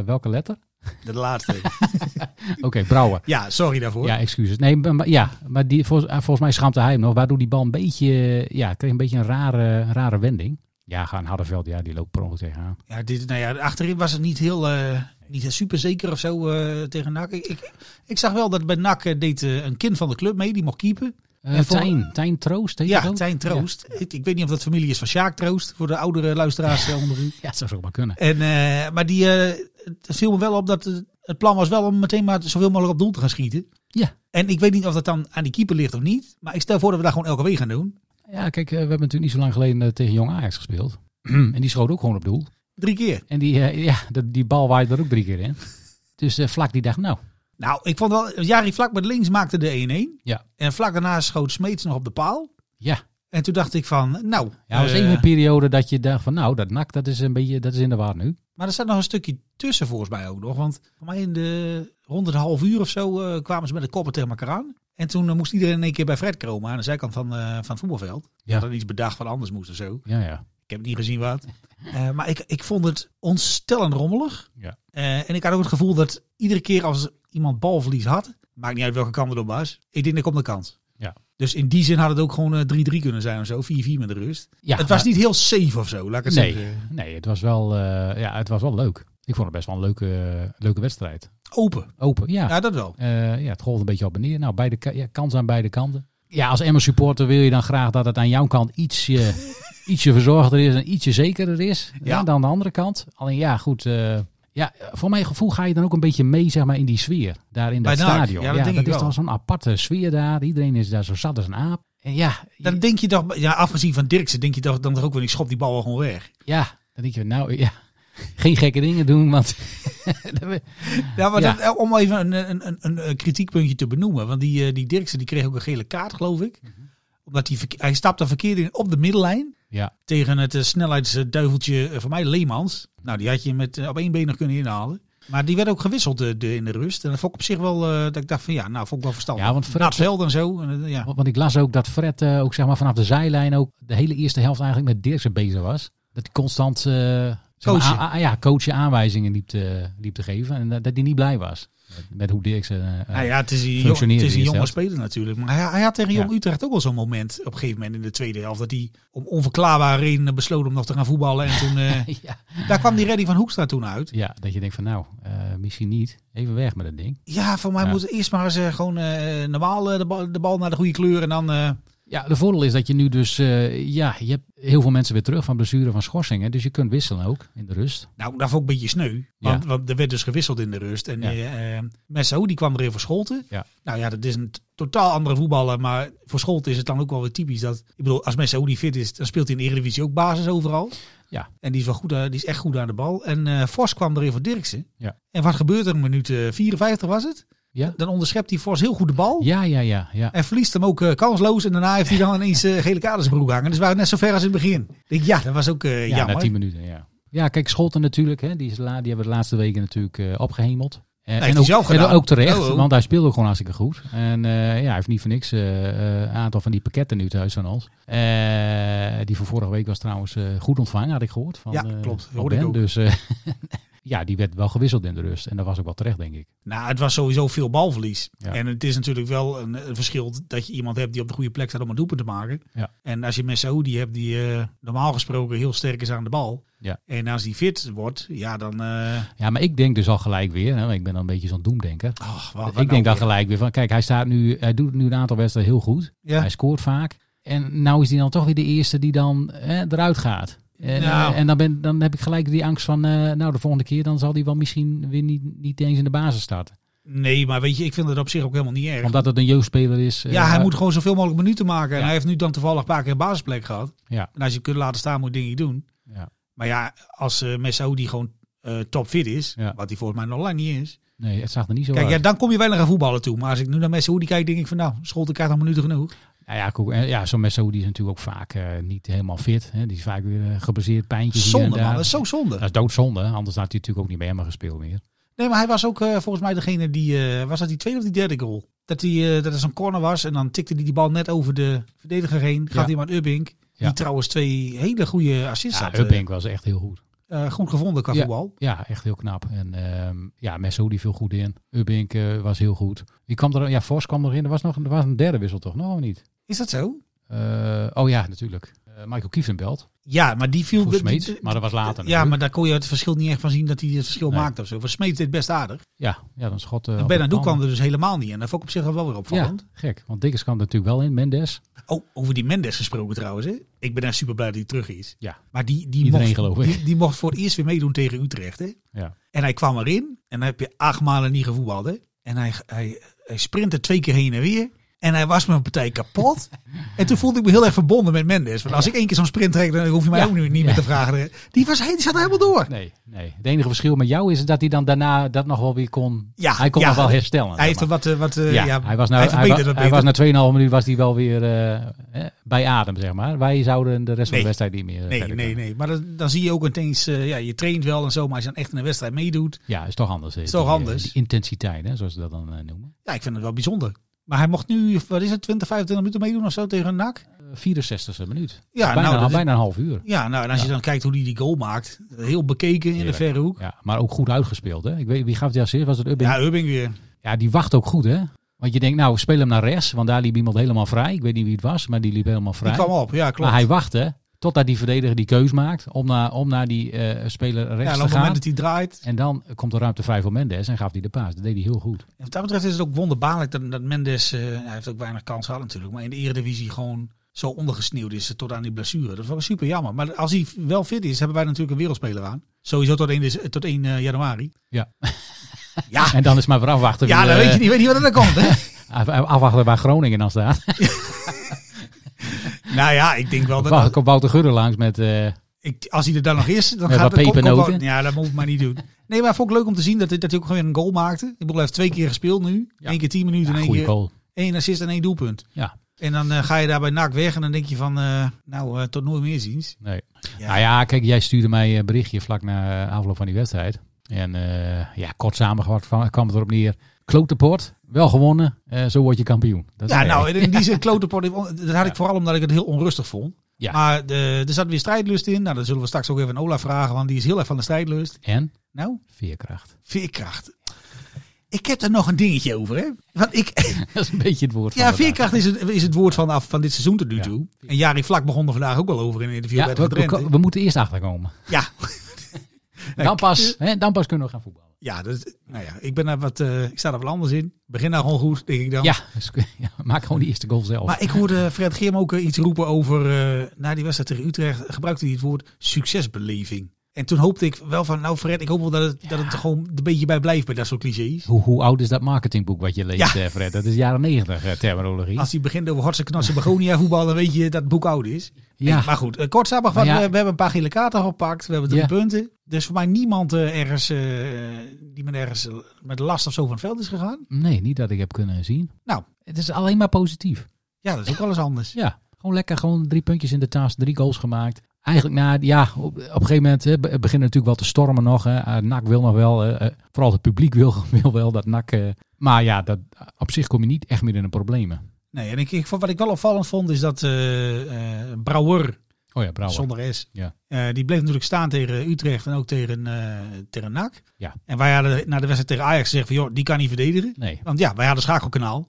Speaker 1: welke letter?
Speaker 2: De laatste.
Speaker 1: Oké, Brouwer.
Speaker 2: ja, sorry daarvoor.
Speaker 1: Ja, excuses. Nee, maar, maar- ja, maar die, vol- eh, volgens mij schaamte hij hem nog. Waardoor die bal een beetje... eh, Ja, kreeg een beetje een rare, rare wending. Ja, gaan Hardenveld, ja, die loopt per ongeluk tegenaan.
Speaker 2: Ja, dit, nou ja, achterin was het niet heel, eh, niet super zeker of zo eh, tegen NAC. Ik, ik, ik zag wel dat bij NAC eh, deed eh, een kind van de club mee, die mocht keepen.
Speaker 1: Eh
Speaker 2: En voor-
Speaker 1: Tijn, Tijn Troost, heet dat
Speaker 2: Ja,
Speaker 1: ook?
Speaker 2: Tijn Troost. Ik, ik weet niet of dat familie is van Sjaak Troost, voor de oudere luisteraars eh, onder u.
Speaker 1: Ja, dat zou ook maar kunnen.
Speaker 2: En, eh, maar die, eh, het viel me wel op dat eh, het plan was wel om meteen maar zoveel mogelijk op doel te gaan schieten.
Speaker 1: Ja.
Speaker 2: En ik weet niet of dat dan aan die keeper ligt of niet. Maar ik stel voor dat we daar gewoon elke week gaan doen.
Speaker 1: Ja, kijk, eh, we hebben natuurlijk niet zo lang geleden eh, tegen Jong Ajax gespeeld. en die schoot ook gewoon op doel.
Speaker 2: Drie keer.
Speaker 1: En die, eh, ja, dat- die bal waaide er ook drie keer in. Dus eh, Vlak die dacht, nou,
Speaker 2: Nou, ik vond wel, Jari vlak met links maakte de 1-1.
Speaker 1: Ja.
Speaker 2: En vlak daarna schoot Smeets nog op de paal.
Speaker 1: ja.
Speaker 2: En toen dacht ik van, nou.
Speaker 1: Ja, er was
Speaker 2: eh,
Speaker 1: even een periode dat je dacht van, nou, dat nak, dat is een beetje, dat is in de war nu.
Speaker 2: maar er zat nog een stukje tussen volgens mij ook nog. Want voor mij in de rond het half uur of zo eh, kwamen ze met de koppen tegen elkaar aan. En toen eh, moest iedereen in één keer bij Fred komen aan de zijkant van, eh, van het voetbalveld.
Speaker 1: Ja.
Speaker 2: Ja. Dat iets bedacht wat anders moest of zo.
Speaker 1: Ja, ja.
Speaker 2: Ik heb het niet gezien wat. Eh, maar ik, ik vond het ontstellend rommelig.
Speaker 1: Ja.
Speaker 2: Eh, en ik had ook het gevoel dat iedere keer als iemand balverlies had, maakt niet uit welke kant het op was, ik denk dat komt de kant.
Speaker 1: Ja.
Speaker 2: Dus in die zin had het ook gewoon eh, 3-3 kunnen zijn of zo, 4-4 met de rust.
Speaker 1: ja
Speaker 2: het was
Speaker 1: maar-
Speaker 2: niet heel safe of zo, laat ik het
Speaker 1: Nee.
Speaker 2: zeggen.
Speaker 1: Nee, het was wel, eh, ja, het was wel leuk. Ik vond het best wel een leuke, leuke wedstrijd.
Speaker 2: Open.
Speaker 1: Open, ja.
Speaker 2: Ja. dat wel.
Speaker 1: Eh, ja, het golf een beetje op en neer. Nou, beide, ka- ja, kans aan beide kanten. Ja, als Emmer supporter wil je dan graag dat het aan jouw kant ietsje, ietsje verzorgder is en ietsje zekerder is
Speaker 2: Ja.
Speaker 1: ja. dan de andere kant. Alleen ja, goed. eh, ja, voor mijn gevoel ga je dan ook een beetje mee zeg maar, in die sfeer daar in dat
Speaker 2: Bij NAC,
Speaker 1: stadion.
Speaker 2: ja, dat denk ik
Speaker 1: is
Speaker 2: wel.
Speaker 1: dan zo'n aparte sfeer daar. Iedereen is daar zo zat als een aap. En ja,
Speaker 2: Dan denk je toch, ja, afgezien van Dirksen, denk je toch dan toch ook weer, ik schop die bal wel gewoon weg.
Speaker 1: ja, dan denk je nou ja, geen gekke dingen doen. Want
Speaker 2: Ja, maar
Speaker 1: Ja.
Speaker 2: dat- eh, om even een, een, een, een, een kritiekpuntje te benoemen. Want die, eh, die Dirksen die kreeg ook een gele kaart, geloof ik. Omdat hij, verke- hij stapte verkeerd in op de middenlijn.
Speaker 1: ja,
Speaker 2: tegen het eh, snelheidsduiveltje eh, van mij, Leemans. Nou, die had je met, eh, op één been nog kunnen inhalen. Maar die werd ook gewisseld eh, de, in de rust. En dat vond ik op zich wel, eh, dat ik dacht van ja, nou vond ik wel verstandig.
Speaker 1: ja, want Fred-
Speaker 2: Nat veld en zo. En, eh, ja.
Speaker 1: Want want ik las ook dat Fred eh, ook zeg maar, vanaf de zijlijn ook de hele eerste helft eigenlijk met Dirksen bezig was. Dat hij constant eh, zeg maar,
Speaker 2: Coachen.
Speaker 1: a- a- ja, coachen aanwijzingen liep te, liep te geven. En eh, dat, dat hij niet blij was met, met hoe Dirksen... eh,
Speaker 2: Nou ja, het is een, jong,
Speaker 1: Functioneerde
Speaker 2: het is een
Speaker 1: die
Speaker 2: jonge
Speaker 1: eerste
Speaker 2: speler natuurlijk. Maar hij, hij had tegen Jong
Speaker 1: Ja.
Speaker 2: Utrecht ook wel zo'n moment op een gegeven moment in de tweede helft. Dat hij om onverklaarbare redenen besloot om nog te gaan voetballen. En toen, eh,
Speaker 1: ja.
Speaker 2: daar kwam die redding van Hoekstra toen uit.
Speaker 1: ja, dat je denkt van nou, eh, misschien niet. Even weg met dat ding.
Speaker 2: Ja, voor mij
Speaker 1: Ja.
Speaker 2: moet het eerst maar eens eh, gewoon eh, normaal eh, de, bal, de bal naar de goede kleur. En dan eh,
Speaker 1: Ja, de voordeel is dat je nu dus, eh, ja, je hebt heel veel mensen weer terug van blessure, van schorsingen. Dus je kunt wisselen ook in de rust.
Speaker 2: Nou, dat vond ik een beetje sneu. Want,
Speaker 1: Ja.
Speaker 2: want er werd dus gewisseld in de rust. En
Speaker 1: Ja.
Speaker 2: eh, eh, Messou, die kwam erin voor Scholten.
Speaker 1: Ja.
Speaker 2: Nou ja, dat is een t- totaal andere voetballer. Maar voor Scholten is het dan ook wel weer typisch. Dat, ik bedoel, als Messou die fit is, dan speelt hij in de Eredivisie ook basis overal.
Speaker 1: Ja.
Speaker 2: En die is, wel goed, aan- die is echt goed aan de bal. En eh Vos kwam erin voor Dirksen.
Speaker 1: Ja.
Speaker 2: En wat gebeurt er? Minuut eh, 54 was het.
Speaker 1: Ja.
Speaker 2: Dan onderschept hij Vos heel goed de bal.
Speaker 1: Ja, ja, ja, ja.
Speaker 2: En verliest hem ook eh, kansloos. En daarna heeft hij dan ineens eh, gele kadersbroek hangen. Dus we waren net zo ver als in het begin. Ik denk, Ja, dat was ook eh,
Speaker 1: Ja,
Speaker 2: jammer.
Speaker 1: na tien minuten, ja. Ja, kijk, Scholten natuurlijk, hè, die, is la, die hebben we de laatste weken natuurlijk eh, opgehemeld. Eh,
Speaker 2: heeft hij
Speaker 1: ook,
Speaker 2: zelf gedaan.
Speaker 1: en ook terecht,
Speaker 2: Oh, oh.
Speaker 1: want hij speelde ook gewoon hartstikke goed. En eh, ja, hij heeft niet voor niks eh, eh, een aantal van die pakketten nu thuis van ons. Eh, die van vorige week was trouwens eh, goed ontvangen, had ik gehoord. Van,
Speaker 2: Ja,
Speaker 1: eh,
Speaker 2: klopt.
Speaker 1: van
Speaker 2: Hoorde ik
Speaker 1: Ben.
Speaker 2: ook.
Speaker 1: Dus eh, ja, die werd wel gewisseld in de rust. En dat was ook wel terecht, denk ik.
Speaker 2: Nou, het was sowieso veel balverlies.
Speaker 1: Ja.
Speaker 2: En het is natuurlijk wel een, een verschil dat je iemand hebt die op de goede plek staat om een doelpunt te maken.
Speaker 1: Ja.
Speaker 2: En als je Messaoudi hebt die eh, normaal gesproken heel sterk is aan de bal.
Speaker 1: Ja.
Speaker 2: En als die fit wordt, ja dan... eh
Speaker 1: Ja, maar ik denk dus al gelijk weer, hè, want ik ben dan een beetje zo'n doemdenker.
Speaker 2: ach, wat- wat
Speaker 1: ik
Speaker 2: nou
Speaker 1: denk dan
Speaker 2: weer?
Speaker 1: gelijk weer van, kijk, hij, staat nu, hij doet nu een aantal wedstrijden heel goed.
Speaker 2: Ja.
Speaker 1: Hij scoort vaak. En nou is hij dan toch weer de eerste die dan hè, eruit gaat. En,
Speaker 2: Nou.
Speaker 1: eh, en dan, ben, dan heb ik gelijk die angst van, eh, nou de volgende keer dan zal hij wel misschien weer niet, niet eens in de basis starten.
Speaker 2: Nee, maar weet je, ik vind het op zich ook helemaal niet erg.
Speaker 1: Omdat het een jeugdspeler is. eh,
Speaker 2: ja, hij moet gewoon zoveel mogelijk minuten maken. En
Speaker 1: Ja.
Speaker 2: hij heeft nu dan toevallig een paar keer een basisplek gehad.
Speaker 1: Ja.
Speaker 2: En als je hem kunt laten staan, moet je dingen doen.
Speaker 1: Ja.
Speaker 2: Maar ja, als eh Messaoudi gewoon eh, topfit is,
Speaker 1: Ja.
Speaker 2: wat hij volgens mij nog lang niet is.
Speaker 1: Nee, het zag er niet zo
Speaker 2: Kijk, ja,
Speaker 1: uit.
Speaker 2: dan kom je weinig aan voetballen toe. Maar als ik nu naar mensen hoe die kijk, denk ik van nou, Scholten krijgt nog minuten genoeg.
Speaker 1: Nou ja, koek, eh, ja, zo'n Messaoudi is natuurlijk ook vaak eh, niet helemaal fit. Hè. Die is vaak weer eh, gebaseerd, pijntjes hier en
Speaker 2: Zonde
Speaker 1: daar.
Speaker 2: man, dat is zo
Speaker 1: Dat
Speaker 2: zonde.
Speaker 1: is doodzonde, anders had hij natuurlijk ook niet bij hem gespeeld meer.
Speaker 2: Nee, maar hij was ook eh, volgens mij degene die, eh, was dat die tweede of die derde goal? Dat, die, eh, dat er zo'n corner was en dan tikte hij die bal net over de verdediger heen. Gaf
Speaker 1: Ja.
Speaker 2: hij maar aan Ubbink.
Speaker 1: Ja.
Speaker 2: Die trouwens twee hele goede assists had.
Speaker 1: Ja,
Speaker 2: eh,
Speaker 1: Ubbink was echt heel goed.
Speaker 2: eh, goed gevonden qua
Speaker 1: Ja.
Speaker 2: voetbal.
Speaker 1: Ja, echt heel knap. En ehm ja, Messaoudi viel goed in. Ubbink eh, was heel goed. Wie kwam er? Ja, Vos kwam erin. Er was nog er was een derde wissel toch? Nog of niet?
Speaker 2: Is dat zo?
Speaker 1: Eh, oh ja, natuurlijk. Eh, Michael Kiefenbelt
Speaker 2: Ja, maar die viel...
Speaker 1: voor
Speaker 2: die-
Speaker 1: Smeets.
Speaker 2: die-
Speaker 1: Maar dat was later.
Speaker 2: ja, maar
Speaker 1: natuurlijk.
Speaker 2: daar kon je het verschil niet echt van zien dat hij het verschil
Speaker 1: Nee.
Speaker 2: maakte of zo. Van Smeet deed best aardig.
Speaker 1: ja, ja, dan schot. eh,
Speaker 2: En Bernardo kwam er dus helemaal niet in. Dat vond ik op zich wel weer opvallend.
Speaker 1: Ja, gek. Want Dikkers kwam er natuurlijk wel in. Mendes.
Speaker 2: Oh, over die Mendes gesproken trouwens. Hè? Ik ben daar super blij dat hij terug is.
Speaker 1: Ja.
Speaker 2: Maar die, die,
Speaker 1: Iedereen
Speaker 2: mocht,
Speaker 1: geloof ik.
Speaker 2: Die, die mocht voor het eerst weer meedoen tegen Utrecht. Hè?
Speaker 1: Ja.
Speaker 2: En hij kwam erin. En dan heb je acht maanden niet gevoetbald. Hè? En hij, hij, hij sprintte twee keer heen en weer. En hij was mijn partij kapot. en toen voelde ik me heel erg verbonden met Mendes. Want als ik één keer zo'n sprint trek, dan hoef je mij
Speaker 1: Ja.
Speaker 2: ook nu niet meer te vragen. hè. Die, was, die zat helemaal door.
Speaker 1: Nee, nee. Het enige verschil met jou is dat hij dan daarna dat nog wel weer kon.
Speaker 2: Ja,
Speaker 1: hij kon
Speaker 2: ja.
Speaker 1: nog wel herstellen.
Speaker 2: Hij heeft
Speaker 1: zeg
Speaker 2: er
Speaker 1: maar.
Speaker 2: wat... eh, wat eh, ja,
Speaker 1: ja, hij was, nou,
Speaker 2: hij
Speaker 1: hij
Speaker 2: verbeterde
Speaker 1: wa-
Speaker 2: dat
Speaker 1: hij was
Speaker 2: beter.
Speaker 1: na 2,5 minuut was hij wel weer eh, eh, bij adem, zeg maar. Wij zouden de rest van
Speaker 2: Nee.
Speaker 1: de wedstrijd niet meer eh,
Speaker 2: Nee,
Speaker 1: verder
Speaker 2: nee, nee. Maar dat- dan zie je ook ineens... eh, ja, je traint wel en zo, maar als je dan echt in een wedstrijd meedoet...
Speaker 1: Ja, is toch anders. Is
Speaker 2: toch anders?
Speaker 1: intensiteit, hè, zoals ze dat dan eh, noemen.
Speaker 2: Ja, ik vind het wel bijzonder. Maar hij mocht nu, wat is het, 20, 25 minuten meedoen of zo tegen NAC?
Speaker 1: Eh, 64e minuut.
Speaker 2: Ja,
Speaker 1: bijna,
Speaker 2: nou, dat is-
Speaker 1: bijna een half uur.
Speaker 2: Ja, nou, en als je dan kijkt hoe hij die goal maakt. Heel bekeken in
Speaker 1: Heerlijk.
Speaker 2: de verre hoek.
Speaker 1: Ja, maar ook goed uitgespeeld. Hè? Ik weet, wie gaf die assist? Was het Ubbing?
Speaker 2: Ja,
Speaker 1: Ja.
Speaker 2: Ubbing weer.
Speaker 1: die wacht ook goed, hè? Want je denkt, nou, speel hem naar rechts. Want daar liep iemand helemaal vrij. Ik weet niet wie het was, maar die liep helemaal vrij.
Speaker 2: Die kwam op, ja,
Speaker 1: maar
Speaker 2: klopt.
Speaker 1: hij wachtte totdat die verdediger die keus maakt om naar, om naar die eh, speler
Speaker 2: ja,
Speaker 1: rechts
Speaker 2: en op
Speaker 1: te
Speaker 2: het
Speaker 1: gaan.
Speaker 2: moment dat hij draait.
Speaker 1: En dan komt er ruimte vrij voor Mendes en gaf hij de paas. Dat deed hij heel goed.
Speaker 2: En wat dat betreft is het ook wonderbaarlijk dat, dat Mendes, eh, hij heeft ook weinig kans gehad natuurlijk. Maar in de eredivisie gewoon zo ondergesneeuwd is tot aan die blessure. Dat was super jammer. Maar als hij wel fit is, hebben wij natuurlijk een wereldspeler aan. Sowieso tot 1, dec- tot 1 eh, januari.
Speaker 1: Ja.
Speaker 2: Ja,
Speaker 1: En dan is maar weer afwachten.
Speaker 2: Ah. ja
Speaker 1: wie,
Speaker 2: dan
Speaker 1: eh,
Speaker 2: weet je niet, weet niet wat er dan komt. Hè?
Speaker 1: af- Afwachten waar Groningen dan staat.
Speaker 2: nou ja, ik denk wel dat,
Speaker 1: Dan komt Wouter Gudde langs met... eh,
Speaker 2: ik, als hij er dan nog is, dan
Speaker 1: Met
Speaker 2: gaat
Speaker 1: wat
Speaker 2: het kom- kom
Speaker 1: pepernoten.
Speaker 2: wel- Ja, dat moet ik maar niet doen. Nee, maar vond ik leuk om te zien dat, hij- dat hij ook gewoon weer een goal maakte. Ik bedoel, hij heeft twee keer gespeeld nu.
Speaker 1: Ja.
Speaker 2: Eén keer tien minuten,
Speaker 1: ja,
Speaker 2: en één
Speaker 1: goede
Speaker 2: keer
Speaker 1: goal.
Speaker 2: één assist en één doelpunt.
Speaker 1: Ja.
Speaker 2: En dan eh, ga je daar bij NAC weg en dan denk je van, eh, nou, eh, tot nooit meer ziens.
Speaker 1: Nee.
Speaker 2: Ja.
Speaker 1: Nou ja, kijk, jij stuurde mij een berichtje vlak na eh, afloop van die wedstrijd. En eh, ja, kort samengevat van- kwam het erop neer. Klote pot, wel gewonnen, eh, zo word je kampioen. Dat
Speaker 2: Ja,
Speaker 1: zei
Speaker 2: nou,
Speaker 1: ik.
Speaker 2: in die zin klotenpot, dat had ik vooral omdat ik het heel onrustig vond.
Speaker 1: Ja.
Speaker 2: Maar de, er zat weer strijdlust in. Nou, dat zullen we straks ook even aan Ola vragen, want die is heel erg van de strijdlust.
Speaker 1: En
Speaker 2: Nou,
Speaker 1: veerkracht.
Speaker 2: veerkracht. Ik heb er nog een dingetje over, hè. Want ik,
Speaker 1: Dat is een beetje het woord van
Speaker 2: Ja,
Speaker 1: de dag.
Speaker 2: veerkracht is het, is het woord van, af, van dit seizoen tot nu
Speaker 1: Ja.
Speaker 2: toe. En Jari Vlak begon er vandaag ook wel over in een interview
Speaker 1: Ja,
Speaker 2: bij
Speaker 1: we,
Speaker 2: de
Speaker 1: we,
Speaker 2: Drenthe.
Speaker 1: we moeten eerst achterkomen.
Speaker 2: Ja.
Speaker 1: Dan pas, hè, dan pas kunnen we gaan voetballen.
Speaker 2: Ja, dus, nou ja, ik, ben daar wat, eh, ik sta daar wel anders in. Begin daar gewoon goed, denk ik dan.
Speaker 1: Ja, dus- ja, maak gewoon die eerste goal zelf.
Speaker 2: Maar ik hoorde Fred Geerm ook eh, iets roepen over, eh, na die wedstrijd tegen Utrecht, gebruikte hij het woord succesbeleving. En toen hoopte ik wel van, nou Fred, ik hoop wel dat het, dat het er gewoon een beetje bij blijft bij dat soort clichés.
Speaker 1: hoe, hoe oud is dat marketingboek wat je leest,
Speaker 2: Ja.
Speaker 1: eh, Fred? Dat is jaren negentig eh, terminologie.
Speaker 2: Als hij begint over hartstikke knasse Begonia voetbal, dan weet je dat het boek oud is.
Speaker 1: ja,
Speaker 2: Maar goed, eh, kort samengevat,
Speaker 1: Maar ja.
Speaker 2: we, we hebben een paar gele kaarten gepakt. We hebben drie
Speaker 1: Ja.
Speaker 2: punten. Er is voor mij niemand eh, ergens, eh, die met ergens eh, met last of zo van het veld is gegaan.
Speaker 1: nee, niet dat ik heb kunnen zien.
Speaker 2: Nou.
Speaker 1: Het is alleen maar positief.
Speaker 2: Ja, dat is ook wel eens anders.
Speaker 1: Ja, gewoon lekker, gewoon drie puntjes in de tas, drie goals gemaakt. Eigenlijk na, ja, op, op een gegeven moment hè, be- beginnen natuurlijk wel te stormen nog. Hè. Eh, NAC wil nog wel, eh, eh, vooral het publiek wil, wil wel dat NAC... eh, maar ja, dat, op zich kom je niet echt meer in de problemen.
Speaker 2: Nee, en ik, ik, vond- wat ik wel opvallend vond, is dat eh, eh, Brouwer
Speaker 1: Oh ja, Brouwer.
Speaker 2: Zonder S.
Speaker 1: Ja.
Speaker 2: Eh, die bleef natuurlijk staan tegen Utrecht en ook tegen, eh tegen NAC.
Speaker 1: Ja.
Speaker 2: En wij hadden na de wedstrijd tegen Ajax gezegd van, joh, die kan niet verdedigen.
Speaker 1: Nee,
Speaker 2: Want ja, wij hadden schakelkanaal.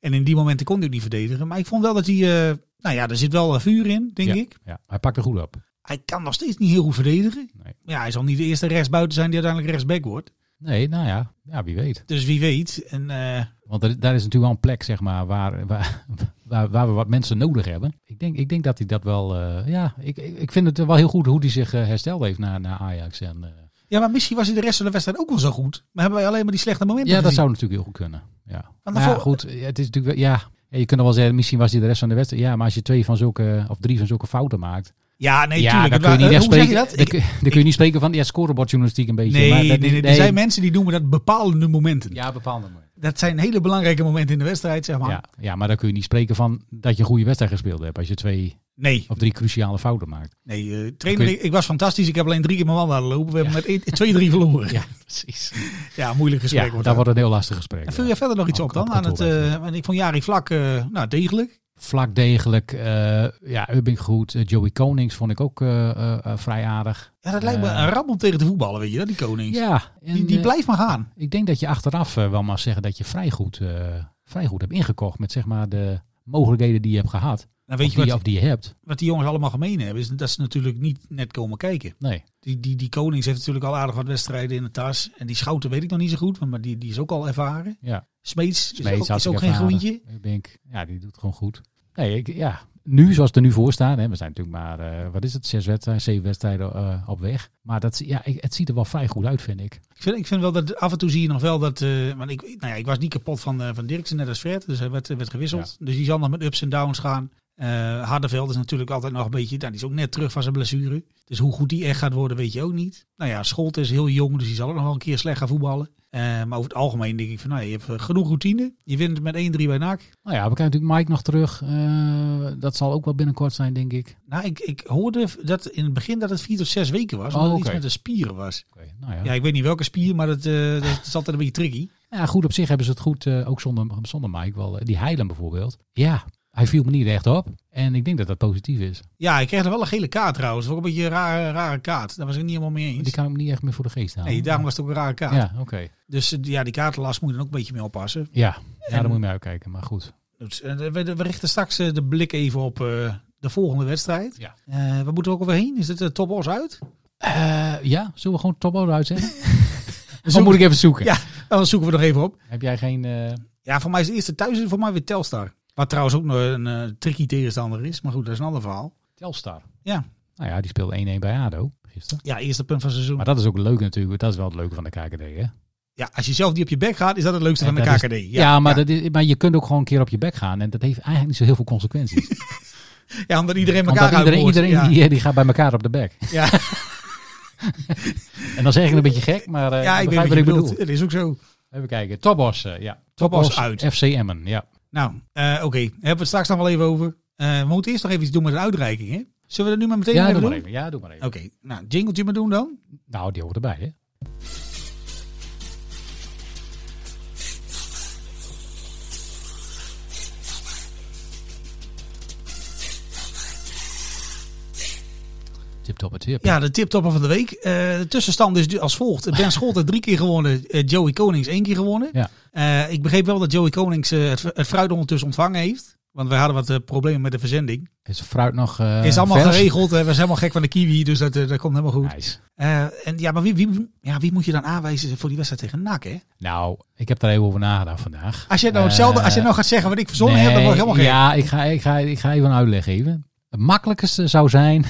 Speaker 2: En in die momenten kon hij ook niet verdedigen. Maar ik vond wel dat hij, eh, nou ja, er zit wel eh, vuur in, denk ik.
Speaker 1: ja, hij pakt er goed op.
Speaker 2: Hij kan nog steeds niet heel goed verdedigen.
Speaker 1: Nee.
Speaker 2: Ja, hij zal niet de eerste rechtsbuiten zijn die uiteindelijk rechtsback wordt.
Speaker 1: Nee, nou ja, ja wie weet.
Speaker 2: Dus wie weet. En, eh,
Speaker 1: Want er- daar is natuurlijk wel een plek, zeg maar, waar, waar, waar, waar we wat mensen nodig hebben. Ik denk, ik denk dat hij dat wel... eh, ja, ik, ik ik vind het wel heel goed hoe hij zich eh, hersteld heeft na, na Ajax. En, eh,
Speaker 2: ja, maar misschien was hij de rest van de wedstrijd ook wel zo goed. Maar hebben wij alleen maar die slechte momenten
Speaker 1: Ja, dat
Speaker 2: gezien.
Speaker 1: zou natuurlijk heel goed kunnen. Ja.
Speaker 2: de
Speaker 1: Maar ja,
Speaker 2: vol-
Speaker 1: goed, het is natuurlijk wel, ja. Ja, Je kunt wel zeggen, misschien was hij de rest van de wedstrijd. Ja, maar als je twee van zulke, of drie van zulke fouten maakt.
Speaker 2: Ja, nee,
Speaker 1: ja,
Speaker 2: tuurlijk.
Speaker 1: dan
Speaker 2: Het
Speaker 1: kun je
Speaker 2: wa-
Speaker 1: niet echt
Speaker 2: Hoe zeg
Speaker 1: spreken.
Speaker 2: je
Speaker 1: Dan,
Speaker 2: dat?
Speaker 1: kun-
Speaker 2: Ik-
Speaker 1: dan kun je niet spreken van ja, scorebordjournalistiek een beetje.
Speaker 2: Nee,
Speaker 1: maar
Speaker 2: nee,
Speaker 1: dat-
Speaker 2: nee, er zijn mensen die noemen dat bepalende momenten.
Speaker 1: Ja, bepaalde maar.
Speaker 2: Dat zijn hele belangrijke momenten in de wedstrijd, zeg maar.
Speaker 1: Ja, ja, maar dan kun je niet spreken van dat je een goede wedstrijd gespeeld hebt. Als je twee
Speaker 2: Nee,
Speaker 1: of drie cruciale fouten maakt.
Speaker 2: nee eh, trainer,
Speaker 1: Oké.
Speaker 2: ik, ik was fantastisch. Ik heb alleen drie keer mijn man laten lopen. We hebben met 2-3 verloren. Ja.
Speaker 1: precies.
Speaker 2: moeilijk gesprek
Speaker 1: Ja,
Speaker 2: wordt
Speaker 1: dat wordt
Speaker 2: dat.
Speaker 1: Nou, een heel lastig gesprek.
Speaker 2: En
Speaker 1: ja.
Speaker 2: vul je verder nog iets
Speaker 1: Op-
Speaker 2: op dan?
Speaker 1: op
Speaker 2: Aan het,
Speaker 1: kantoor,
Speaker 2: eh, want ik vond Jari Vlak eh, nou, degelijk.
Speaker 1: Vlak degelijk. eh, ja, Ubbing goed. Eh, Joey Konings vond ik ook eh, eh, eh, vrij aardig.
Speaker 2: Ja, dat lijkt me
Speaker 1: Eh.
Speaker 2: een rap om tegen te voetballen, weet je, dat, die Konings.
Speaker 1: Ja,
Speaker 2: die
Speaker 1: en,
Speaker 2: die
Speaker 1: eh,
Speaker 2: blijft maar gaan.
Speaker 1: Ik denk dat je achteraf eh, wel mag zeggen dat je vrij goed, eh, vrij goed hebt ingekocht met zeg maar de mogelijkheden die je hebt gehad.
Speaker 2: Nou, weet
Speaker 1: of,
Speaker 2: je
Speaker 1: die,
Speaker 2: wat,
Speaker 1: of die je hebt.
Speaker 2: wat die jongens allemaal gemeen hebben? Is dat ze natuurlijk niet net komen kijken.
Speaker 1: Nee.
Speaker 2: Die, die, die Konings heeft natuurlijk al aardig wat wedstrijden in de tas. En die Schouten weet ik nog niet zo goed, maar die, die is ook al ervaren.
Speaker 1: Ja.
Speaker 2: Smeets,
Speaker 1: Smeets
Speaker 2: is ook,
Speaker 1: had
Speaker 2: is
Speaker 1: ik
Speaker 2: ook geen
Speaker 1: ervaren.
Speaker 2: groentje. Hmm.
Speaker 1: Ik denk, ja, die doet gewoon goed. Nee, ik, ja. Nu, zoals we er nu voor staan, hè, we zijn natuurlijk maar, eh, wat is het, zes wedstrijden, zeven wedstrijden eh, op weg. Maar dat, ja, ik- het ziet er wel vrij goed uit, vind ik.
Speaker 2: Ik vind, ik vind wel dat af en toe zie je nog wel dat. eh want ik, nou ja, ik was niet kapot van, eh, van Dirksen, net als Fred. Dus hij werd, werd gewisseld. Dus die zal nog met ups en downs gaan. Eh Hardeveld is natuurlijk altijd nog een beetje. Nou, die is ook net terug van zijn blessure. Dus hoe goed die echt gaat worden, weet je ook niet. Nou ja, Scholte is heel jong, dus die zal ook nog wel een keer slecht gaan voetballen. Eh, maar over het algemeen denk ik van, nou, je hebt eh, genoeg routine. Je wint met 1-3 bij NAC.
Speaker 1: Nou ja, we krijgen natuurlijk Mike nog terug. Eh, dat zal ook wel binnenkort zijn, denk ik.
Speaker 2: Nou, ik, ik hoorde dat in het begin dat het 4 tot 6 weken was.
Speaker 1: Oh,
Speaker 2: Omdat het
Speaker 1: oké.
Speaker 2: iets met de spieren was.
Speaker 1: Oké, nou ja.
Speaker 2: Ja,
Speaker 1: Ja.
Speaker 2: ik weet niet welke spier, maar dat, eh, dat is altijd een beetje tricky.
Speaker 1: goed op zich hebben ze het goed, eh, ook zonder, zonder Mike wel. eh, die Heilen bijvoorbeeld. Ja, hij viel me niet echt op. En ik denk dat dat positief is.
Speaker 2: Ja, ik kreeg er wel een gele kaart trouwens. Ook een beetje een rare, rare kaart. Daar was ik niet helemaal mee
Speaker 1: Die
Speaker 2: eens.
Speaker 1: kan ik me niet echt meer voor de geest halen.
Speaker 2: Nee, daarom was het ook een rare kaart.
Speaker 1: Ja, oké.
Speaker 2: Dus eh, ja, die kaartenlast moet je dan ook een beetje mee oppassen.
Speaker 1: Ja, ja daar moet je mee uitkijken. Maar goed.
Speaker 2: Dus, eh, we, we richten straks eh, de blik even op eh, de volgende wedstrijd.
Speaker 1: Ja.
Speaker 2: Eh, waar moeten we ook overheen? Is het de top Os uit?
Speaker 1: Eh, ja, zullen we gewoon Tobbo eruit zetten? Zo moet ik even zoeken.
Speaker 2: Ja. Nou, Dan zoeken we nog even op.
Speaker 1: Heb jij geen... eh,
Speaker 2: Ja, voor mij is de eerste thuis voor mij weer Telstar. Wat trouwens ook nog een eh, tricky tegenstander is. Maar goed, dat is een ander verhaal.
Speaker 1: Telstar?
Speaker 2: Ja.
Speaker 1: Nou ja, die speelde 1-1 bij ADO gisteren.
Speaker 2: Ja, eerste punt van het seizoen.
Speaker 1: Maar dat is ook leuk natuurlijk. Dat is wel het leuke van de KKD, hè?
Speaker 2: Ja, als je zelf niet op je bek gaat, is dat het leukste
Speaker 1: En
Speaker 2: van de
Speaker 1: dat is-
Speaker 2: KKD.
Speaker 1: Ja, maar, Dat is, maar je kunt ook gewoon een keer op je bek gaan. En dat heeft eigenlijk niet zo heel veel consequenties.
Speaker 2: ja, omdat iedereen
Speaker 1: Want
Speaker 2: elkaar
Speaker 1: dat iedereen,
Speaker 2: uithoort.
Speaker 1: iedereen
Speaker 2: ja.
Speaker 1: die, die gaat bij elkaar op de bek.
Speaker 2: Ja.
Speaker 1: En dan zeg ik een beetje gek, maar eh
Speaker 2: ja, ik weet
Speaker 1: begrijp wat
Speaker 2: wat je
Speaker 1: ik
Speaker 2: bedoelt.
Speaker 1: bedoel.
Speaker 2: Het is ook zo.
Speaker 1: Even kijken. Topos, eh, ja.
Speaker 2: Topos uit.
Speaker 1: FC Emmen, ja.
Speaker 2: Nou, eh, oké. Hebben we het straks nog wel even over. Eh, we moeten eerst nog even iets doen met de uitreiking, hè? Zullen we dat nu maar meteen
Speaker 1: Ja,
Speaker 2: even
Speaker 1: doe maar
Speaker 2: doen?
Speaker 1: even. Ja, doe maar even.
Speaker 2: Oké, nou, jingletje maar doen dan.
Speaker 1: Nou, die hoort erbij, hè? Tip top het tip.
Speaker 2: Ja, de tiptopper van de week. Eh, de tussenstand is dus als volgt. Ben Scholten drie keer gewonnen, eh, Joey Konings één keer gewonnen.
Speaker 1: Ja.
Speaker 2: Eh, ik begreep wel dat Joey Konings eh, het, het fruit ondertussen ontvangen heeft. Want wij hadden wat eh, problemen met de verzending.
Speaker 1: Is fruit nog eh,
Speaker 2: is allemaal
Speaker 1: vers?
Speaker 2: geregeld. Hij was helemaal gek van de kiwi, dus dat, eh, dat komt helemaal goed.
Speaker 1: Nice.
Speaker 2: Eh, en ja, maar wie, wie, ja, wie moet je dan aanwijzen voor die wedstrijd tegen NAC, hè?
Speaker 1: Nou, ik heb daar even over nagedacht vandaag.
Speaker 2: Als je nou
Speaker 1: Eh,
Speaker 2: hetzelfde, als je nou gaat zeggen wat ik verzonnen heb, dan
Speaker 1: Nee,
Speaker 2: word ik helemaal gek.
Speaker 1: Ja, ik ga, ik, ga, ik ga even een uitleg geven. Het makkelijkste zou zijn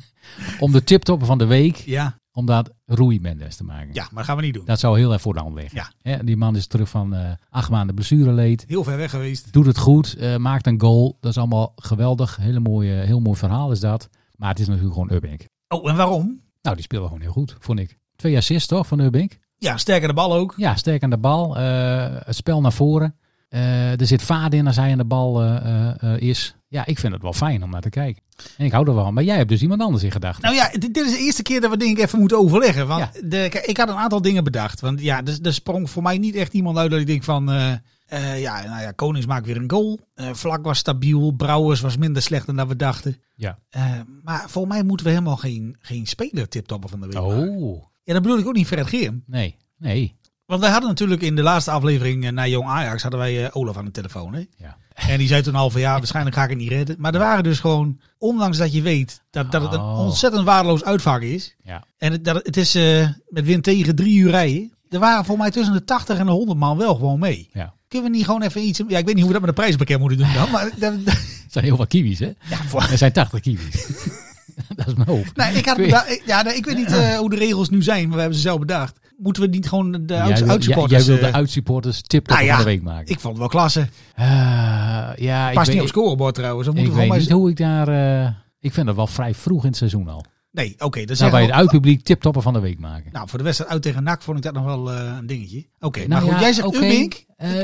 Speaker 1: om de tiptopper van de week,
Speaker 2: Ja,
Speaker 1: om dat Rui Mendes te maken.
Speaker 2: ja, maar dat gaan we niet doen.
Speaker 1: Dat zou heel erg voor de hand liggen.
Speaker 2: Ja.
Speaker 1: Hè, die man is terug van eh, acht maanden blessureleed.
Speaker 2: Heel ver weg geweest.
Speaker 1: Doet het goed, eh, maakt een goal. Dat is allemaal geweldig. Hele mooie, heel mooi verhaal is dat. Maar het is natuurlijk gewoon Urbink.
Speaker 2: Oh, en waarom?
Speaker 1: Nou, die speelde gewoon heel goed, vond ik. Twee assists toch van Urbink?
Speaker 2: Ja, sterker de bal ook.
Speaker 1: Ja, sterk aan de bal. eh, het spel naar voren. Eh, er zit vaart in als hij aan de bal eh, eh, eh, is. Ja, ik vind het wel fijn om naar te kijken. En ik hou er wel van. Maar jij hebt dus iemand anders in gedachten.
Speaker 2: Nou ja, dit, dit is de eerste keer dat we denk ik even moeten overleggen. Want
Speaker 1: Ja.
Speaker 2: de, kijk, ik had een aantal dingen bedacht. Want ja, er, er sprong voor mij niet echt iemand uit dat ik denk van... eh, eh, ja, nou ja, Konings maakt weer een goal. Eh, Vlak was stabiel. Brouwers was minder slecht dan dat we dachten.
Speaker 1: Ja.
Speaker 2: Eh, maar voor mij moeten we helemaal geen, geen speler tiptoppen van de week maken.
Speaker 1: Oh,
Speaker 2: Ja, dat bedoel ik ook niet Fred Geerm.
Speaker 1: nee. Nee.
Speaker 2: Want wij hadden natuurlijk in de laatste aflevering eh, naar Jong Ajax... hadden wij eh, Olaf aan de telefoon, hè?
Speaker 1: Ja.
Speaker 2: En die zei toen al van ja, waarschijnlijk ga ik het niet redden. Maar er waren dus gewoon, ondanks dat je weet dat, dat het een
Speaker 1: Oh.
Speaker 2: ontzettend waardeloos uitvak is...
Speaker 1: Ja.
Speaker 2: En het, dat, het is eh, met wind tegen drie uur rijden. Er waren voor mij tussen de 80 en de 100 man wel gewoon mee.
Speaker 1: ja.
Speaker 2: Kunnen we niet gewoon even iets... Ja, ik weet niet hoe we dat met de prijs bekend moeten doen dan. Maar dat, dat-
Speaker 1: Er zijn heel veel kiwis, hè?
Speaker 2: ja, voor-
Speaker 1: Er zijn 80 kiwis. dat is mijn hoop.
Speaker 2: nee, ik, had,
Speaker 1: Kun je-
Speaker 2: nou, ik- ja, nee, ik weet niet eh, hoe de regels nu zijn, maar we hebben ze zelf bedacht. Moeten we niet gewoon de
Speaker 1: jij
Speaker 2: uit,
Speaker 1: wil, jij,
Speaker 2: uitsupporters...
Speaker 1: wil de
Speaker 2: eh,
Speaker 1: uitsupporters tip
Speaker 2: nou ja,
Speaker 1: van de week maken.
Speaker 2: ik vond het wel klasse.
Speaker 1: Eh, ja,
Speaker 2: Past
Speaker 1: ik
Speaker 2: niet op
Speaker 1: weet,
Speaker 2: scorebord trouwens. Dan
Speaker 1: ik
Speaker 2: moeten we
Speaker 1: weet
Speaker 2: gewoon
Speaker 1: niet
Speaker 2: maar
Speaker 1: hoe ik daar... eh, ik vind dat wel vrij vroeg in het seizoen al.
Speaker 2: eens- Nee, oké. dan
Speaker 1: Nou,
Speaker 2: zeggen
Speaker 1: bij
Speaker 2: we-
Speaker 1: het uitpubliek tiptopper van de week maken.
Speaker 2: nou, voor de wedstrijd uit tegen NAC vond ik dat nog wel eh, een dingetje. Oké, maar
Speaker 1: Nou
Speaker 2: goed.
Speaker 1: ja,
Speaker 2: jij zegt
Speaker 1: oké.
Speaker 2: Urbink.
Speaker 1: Eh,
Speaker 2: Nee,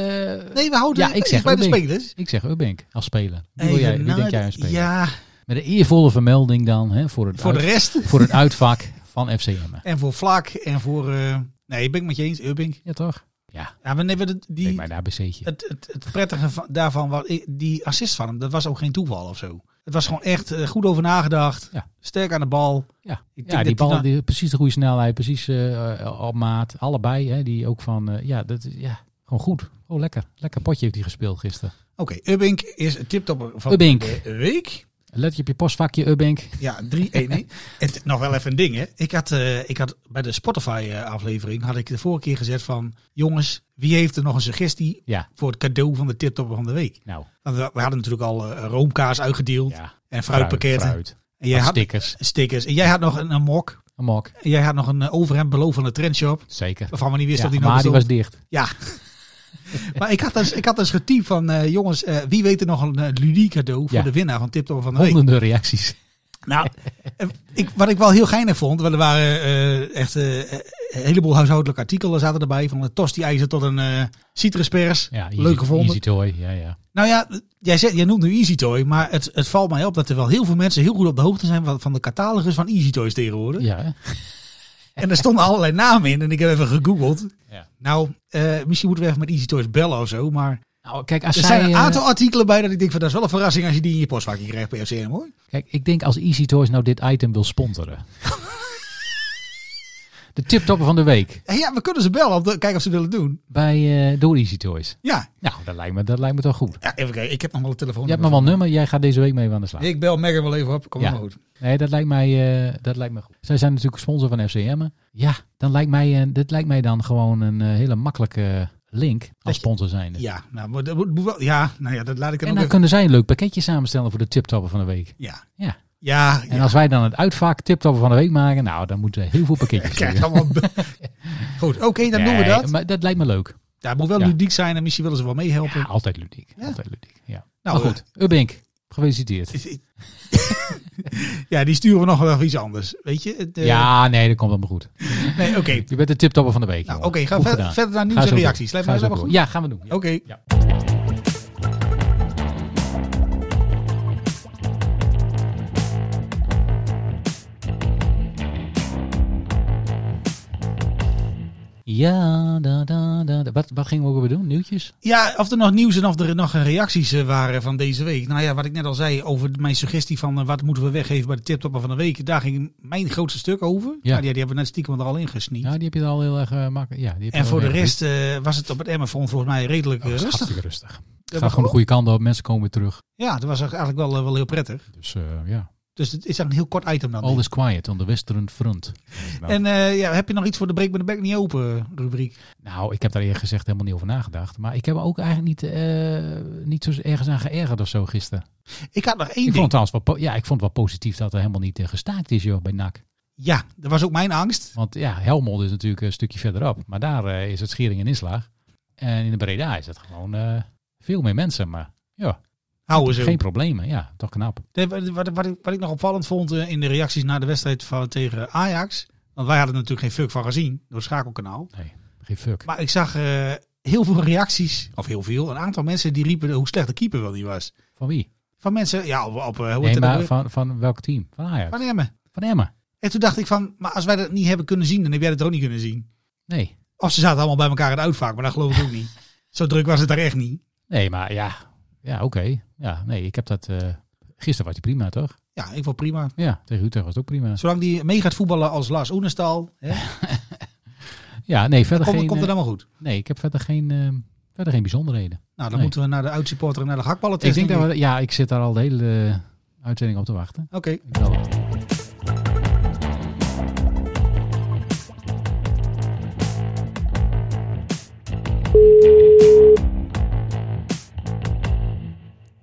Speaker 2: we houden
Speaker 1: Ja, ik zeg
Speaker 2: bij de
Speaker 1: Urbink.
Speaker 2: spelers.
Speaker 1: Ik zeg Urbink als speler. Wie, wil
Speaker 2: Even
Speaker 1: jij, wie denk jij
Speaker 2: nadenken.
Speaker 1: aan speler? Nou,
Speaker 2: Ja,
Speaker 1: Met een eervolle vermelding dan hè, voor, het
Speaker 2: voor de
Speaker 1: uit-
Speaker 2: rest...
Speaker 1: voor het uitvak van FCM.
Speaker 2: En voor Vlak en voor... eh, nee, ik ben het met je eens, Ubbing.
Speaker 1: Ja toch? Ja,
Speaker 2: Ja, we hebben de-
Speaker 1: denk
Speaker 2: die,
Speaker 1: maar daar ABC'tje.
Speaker 2: het, het, het prettige van- daarvan, was, die assist van hem, dat was ook geen toeval of zo. Het was gewoon echt eh, goed over nagedacht.
Speaker 1: Ja.
Speaker 2: Sterk aan de bal.
Speaker 1: Ja,
Speaker 2: denk
Speaker 1: ja
Speaker 2: dat
Speaker 1: die
Speaker 2: die
Speaker 1: bal,
Speaker 2: dan-
Speaker 1: die, precies de goede snelheid, precies eh, eh, op maat. Allebei, hè, die ook van, eh, ja, dat, is- ja, gewoon goed. Oh, lekker. Lekker potje heeft hij gespeeld gisteren.
Speaker 2: Oké, Ubbing is het tiptopper van
Speaker 1: Ubbink.
Speaker 2: de week.
Speaker 1: Let je op je postvakje, Ubbink.
Speaker 2: Ja, 3-1-1. Het- nog wel even een ding, hè. Ik had, eh, ik had bij de Spotify-aflevering, had ik de vorige keer gezet van... Jongens, wie heeft er nog een suggestie
Speaker 1: Ja,
Speaker 2: voor het cadeau van de tiptopper van de week?
Speaker 1: nou,
Speaker 2: Want we, we hadden natuurlijk al eh, roomkaas uitgedeeld
Speaker 1: ja.
Speaker 2: en fruitpakketten.
Speaker 1: Fruit,
Speaker 2: En jij
Speaker 1: Wat
Speaker 2: had,
Speaker 1: stickers,
Speaker 2: stickers. En jij had nog een, een mok.
Speaker 1: een mok,
Speaker 2: En jij had nog een eh, overhemd beloofd van de trendshop.
Speaker 1: zeker.
Speaker 2: Waarvan we niet wisten
Speaker 1: Ja,
Speaker 2: dat die nou nog
Speaker 1: maar die was
Speaker 2: bestond.
Speaker 1: dicht.
Speaker 2: Ja. maar ik had dus, ik had dus getypt van... eh, jongens, eh, wie weet er nog een eh, ludiek cadeau voor
Speaker 1: Ja.
Speaker 2: de winnaar van Tiptop van de Week.
Speaker 1: Honderden reacties.
Speaker 2: Nou, eh, ik, wat ik wel heel geinig vond... Want er waren eh, echt eh, een heleboel huishoudelijke artikelen zaten erbij. Van een tosti-ijzer tot een eh, citruspers.
Speaker 1: Ja, easy,
Speaker 2: Leuk gevonden.
Speaker 1: Easy toy, ja, ja.
Speaker 2: Nou ja, jij, zegt, jij noemt nu Easy Toy. Maar het, het valt mij op dat er wel heel veel mensen heel goed op de hoogte zijn... van, van de catalogus van Easy Toys tegenwoordig.
Speaker 1: Ja, hè?
Speaker 2: En er stonden allerlei namen in en ik heb even gegoogeld.
Speaker 1: Ja.
Speaker 2: Nou, eh, misschien moeten we even met Easy Toys bellen of zo. Maar
Speaker 1: Nou, kijk, als
Speaker 2: er
Speaker 1: zij,
Speaker 2: zijn een
Speaker 1: eh,
Speaker 2: aantal artikelen bij dat ik denk van dat is wel een verrassing als je die in je postvakje krijgt bij FCM hoor.
Speaker 1: Kijk, ik denk als Easy Toys nou dit item wil sponsoren. de tiptopper van de week
Speaker 2: En Eh, ja, we kunnen ze bellen om te kijken of ze willen doen.
Speaker 1: bij, eh, door Easy Toys.
Speaker 2: Ja.
Speaker 1: Nou, dat lijkt me, dat lijkt me toch goed.
Speaker 2: ja, even kijken. Ik heb nog wel een telefoon.
Speaker 1: Je hebt maar wel een nummer, jij gaat deze week mee aan de slag.
Speaker 2: Ik bel Megan wel even op. Kom
Speaker 1: Ja.
Speaker 2: maar goed.
Speaker 1: Nee, dat lijkt mij, eh, dat lijkt me goed. Zij zijn natuurlijk sponsor van FCM. Ja, dan lijkt mij, eh, dit lijkt mij dan gewoon een eh, hele makkelijke link als
Speaker 2: je-
Speaker 1: sponsor zijnde.
Speaker 2: Ja, nou, maar dat moet- moet wel- ja, nou ja, dat laat ik
Speaker 1: En
Speaker 2: er ook
Speaker 1: dan
Speaker 2: even.
Speaker 1: kunnen zij een leuk pakketje samenstellen voor de tiptopper van de week.
Speaker 2: Ja.
Speaker 1: Ja.
Speaker 2: Ja,
Speaker 1: En
Speaker 2: ja.
Speaker 1: als wij dan het uitvak tiptopper van de week maken, nou, dan moeten heel veel pakketjes
Speaker 2: Kijk,
Speaker 1: liggen.
Speaker 2: allemaal be- Goed, oké, dan doen we
Speaker 1: Nee,
Speaker 2: dat.
Speaker 1: Maar dat lijkt me leuk.
Speaker 2: Daar moet wel
Speaker 1: Ja.
Speaker 2: ludiek zijn en misschien willen ze wel meehelpen.
Speaker 1: Ja, altijd ludiek.
Speaker 2: Ja.
Speaker 1: Altijd ludiek. Ja.
Speaker 2: Nou,
Speaker 1: maar goed, Ubbink, gefeliciteerd.
Speaker 2: eh, ja, die sturen we nog wel even iets anders. Weet je? Het, eh,
Speaker 1: ja, nee, dat komt allemaal goed.
Speaker 2: Nee, oké.
Speaker 1: Je bent de tiptopper van de week.
Speaker 2: Nou,
Speaker 1: jongen.
Speaker 2: oké, ga
Speaker 1: Goed
Speaker 2: verder-
Speaker 1: gedaan.
Speaker 2: verder naar nieuws
Speaker 1: Ga
Speaker 2: en
Speaker 1: zo door.
Speaker 2: reacties. Lijkt me
Speaker 1: Ga zo
Speaker 2: helemaal
Speaker 1: door.
Speaker 2: goed.
Speaker 1: Ja, gaan we doen. Ja.
Speaker 2: Oké.
Speaker 1: Ja. Ja, da, da, da, da. Wat, wat gingen we ook weer doen? Nieuwtjes?
Speaker 2: Ja, of er nog nieuws en of er nog reacties eh, waren van deze week. Nou ja, wat ik net al zei over mijn suggestie van eh, wat moeten we weggeven bij de tiptopper van de week. Daar ging mijn grootste stuk over. Nou, die, die hebben we net stiekem er al in gesneakt.
Speaker 1: Ja, die heb je er al heel erg eh, makkelijk. Ja, die heb je
Speaker 2: en
Speaker 1: al
Speaker 2: voor de
Speaker 1: heel erg
Speaker 2: rest eh, was het op het Emmerfront volgens mij redelijk eh,
Speaker 1: goed.
Speaker 2: rustig.
Speaker 1: Hartstikke rustig. Het gaat gewoon de goede kant op. Mensen komen weer terug.
Speaker 2: Ja, dat was eigenlijk wel, eh, wel heel prettig.
Speaker 1: Dus eh, ja,
Speaker 2: Dus het is eigenlijk een heel kort item dan.
Speaker 1: all is quiet on the western front.
Speaker 2: En eh, ja, heb je nog iets voor de break met de bek niet open eh, rubriek?
Speaker 1: Nou, ik heb daar eerlijk gezegd helemaal niet over nagedacht. Maar ik heb ook eigenlijk niet, eh, niet zo ergens aan geërgerd of zo gisteren.
Speaker 2: Ik had nog één
Speaker 1: Ik
Speaker 2: ding.
Speaker 1: vond, het trouwens wel po- ja, ik vond het wel positief dat er helemaal niet eh, gestaakt is joh, bij NAC.
Speaker 2: Ja, dat was ook mijn angst.
Speaker 1: Want ja, Helmond is natuurlijk een stukje verderop. Maar daar eh, is het schering en inslag. En in de Breda is het gewoon eh, veel meer mensen. Maar ja,
Speaker 2: Houden ze.
Speaker 1: geen problemen. Ja, toch knap.
Speaker 2: Nee, Wat, wat, wat ik- wat ik nog opvallend vond eh, in de reacties na de wedstrijd van, tegen Ajax. Want wij hadden er natuurlijk geen fuck van gezien door het schakelkanaal.
Speaker 1: Geen fuck.
Speaker 2: Maar ik zag eh, heel veel reacties, of heel veel, een aantal mensen die riepen hoe slecht de keeper wel die was.
Speaker 1: Van wie?
Speaker 2: Van mensen, ja, op, op eh, hoe heet
Speaker 1: Nee,
Speaker 2: het
Speaker 1: maar
Speaker 2: ook
Speaker 1: van, van welk team? Van Ajax?
Speaker 2: weer?
Speaker 1: Van,
Speaker 2: van Emmen.
Speaker 1: Emmen?
Speaker 2: En toen dacht ik van, maar als wij dat niet hebben kunnen zien, dan heb jij dat ook niet kunnen zien.
Speaker 1: Nee.
Speaker 2: Of ze zaten allemaal bij elkaar in de uitvaak, maar dat geloof ik ook niet. Zo druk was het daar echt niet.
Speaker 1: Nee, maar ja. Ja, oké. Ja, nee, ik heb dat... eh, gisteren was hij prima, toch?
Speaker 2: Ja, ik vond prima.
Speaker 1: Ja, tegen Utrecht was het ook prima.
Speaker 2: Zolang die mee gaat voetballen als Lars Oenestal, hè,
Speaker 1: Ja, nee, verder
Speaker 2: komt,
Speaker 1: geen...
Speaker 2: komt het
Speaker 1: eh,
Speaker 2: allemaal goed.
Speaker 1: nee, ik heb verder geen, eh, verder geen bijzonderheden.
Speaker 2: Nou, dan
Speaker 1: nee.
Speaker 2: moeten we naar de uitsupporter en naar de hakballen
Speaker 1: Ik denk dat we, ja, ik zit daar al de hele eh, uitzending op te wachten.
Speaker 2: Oké.
Speaker 1: Ik wel.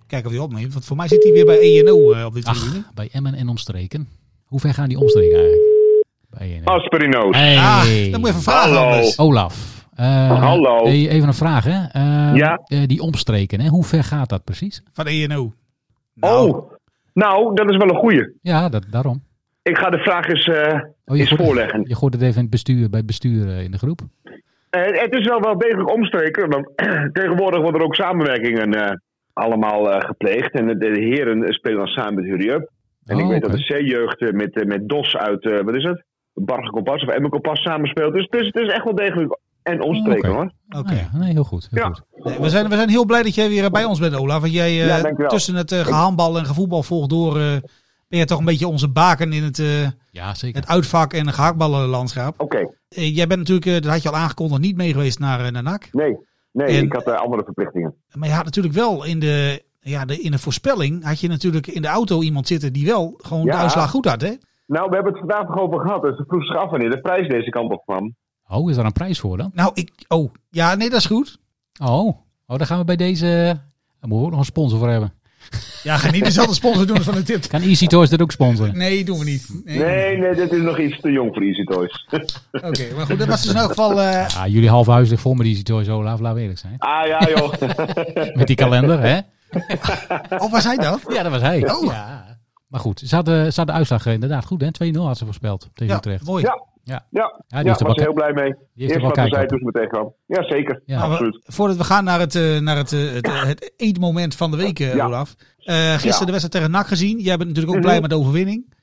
Speaker 2: Kijken of hij opneemt. Want voor mij zit hij weer bij ENO eh, op dit tribune.
Speaker 1: Ach, bij Emmen en omstreken. Hoe ver gaan die omstreken eigenlijk? Bij
Speaker 5: Oh,
Speaker 1: een,
Speaker 5: Asperino's.
Speaker 1: Hey.
Speaker 2: Ah, dan moet je even vragen
Speaker 5: Hallo.
Speaker 2: anders.
Speaker 1: Olaf. eh,
Speaker 5: Hallo.
Speaker 1: e- Even een vraag, hè? Eh,
Speaker 5: Ja?
Speaker 1: eh, die omstreken, hè? hoe ver gaat dat precies?
Speaker 2: Van E ENO. nou-
Speaker 5: Oh, nou, dat is wel een goeie.
Speaker 1: Ja, dat, daarom.
Speaker 5: Ik ga de vraag eens, eh, eens
Speaker 1: gooit-
Speaker 5: voorleggen.
Speaker 1: je gooit het even in het bestuur, bij het bestuur eh, in de groep.
Speaker 5: Eh, het is wel, wel degelijk omstreken, want tegenwoordig worden er ook samenwerkingen eh, allemaal eh, gepleegd. En de, de heren spelen dan samen met Hurry-Up. En
Speaker 1: Oh,
Speaker 5: ik weet
Speaker 1: oké.
Speaker 5: dat de C-jeugd eh, met, eh, met DOS uit, eh, wat is het? Barge Kompas of Emmer Kompas samenspeelt. Dus, dus het is echt wel degelijk en omstreken
Speaker 1: Oké.
Speaker 5: hoor.
Speaker 2: Oké.
Speaker 1: Ah, ja. Nee, heel goed. Heel
Speaker 5: Ja.
Speaker 1: goed.
Speaker 2: Nee, we, zijn, we zijn heel blij dat jij weer eh, bij ons bent, Ola. Want jij eh,
Speaker 5: Ja, dankjewel.
Speaker 2: tussen het eh, gehandbal en gevoetbal volgt door... eh, ben je toch een beetje onze baken in het, eh,
Speaker 1: ja zeker.
Speaker 2: het uitvak en gehaakballenlandschap.
Speaker 5: Oké,
Speaker 2: Eh, jij bent natuurlijk, eh, dat had je al aangekondigd, niet mee geweest naar, eh, naar NAC.
Speaker 5: nee. Nee,
Speaker 2: En-
Speaker 5: ik had eh, andere verplichtingen.
Speaker 2: Maar je had natuurlijk wel in de, ja, de, in de voorspelling... had je natuurlijk in de auto iemand zitten die wel gewoon de
Speaker 5: Ja.
Speaker 2: uitslag goed had, hè?
Speaker 5: Nou, we hebben het vandaag nog over gehad. Dus de vroeg zich af wanneer de prijs deze kant op kwam.
Speaker 1: Oh, is daar een prijs voor dan?
Speaker 2: Nou, ik... Oh, ja, nee, dat is goed.
Speaker 1: Oh, oh daar gaan we bij deze... Daar moeten we ook nog een sponsor voor hebben.
Speaker 2: Ja, ga niet dezelfde sponsor doen als van de tip.
Speaker 1: Kan Easy Toys dat ook sponsoren?
Speaker 2: Nee, doen we niet. Nee.
Speaker 5: Nee, nee, dit is nog iets te jong voor Easy Toys.
Speaker 2: Oké, maar goed, dat was dus in elk geval... eh,
Speaker 1: Ja, Ah, jullie half huis ligt vol met Easy Toys, Olaf. Laten we eerlijk zijn.
Speaker 5: Ah ja, joh.
Speaker 1: Met die kalender, hè?
Speaker 2: of was hij dat?
Speaker 1: Ja, dat was hij.
Speaker 2: Oh.
Speaker 1: Ja. Maar goed, ze hadden, ze hadden de uitslag eh, inderdaad goed, hè? 2-0 had ze voorspeld tegen
Speaker 2: Ja,
Speaker 1: Utrecht.
Speaker 2: mooi.
Speaker 5: Ja, ja.
Speaker 1: Ja,
Speaker 5: Ja,
Speaker 1: Ah, die heeft er wel
Speaker 5: daar was ik
Speaker 1: kijk-
Speaker 5: heel blij mee.
Speaker 1: Die heeft
Speaker 5: Eerst
Speaker 1: er wel
Speaker 5: wat we
Speaker 1: kijk
Speaker 5: zei,
Speaker 1: op.
Speaker 5: toen ze me tegenkwam. Jazeker,
Speaker 1: Ja.
Speaker 2: Nou, we-
Speaker 5: absoluut.
Speaker 2: voordat we gaan naar het, eh, naar het, eh, het, eh, het eetmoment van de week, eh,
Speaker 5: Ja.
Speaker 2: Olaf. Eh, gisteren
Speaker 5: Ja.
Speaker 2: de wedstrijd tegen NAC gezien. Jij bent natuurlijk ook
Speaker 5: Mhm.
Speaker 2: blij met de overwinning.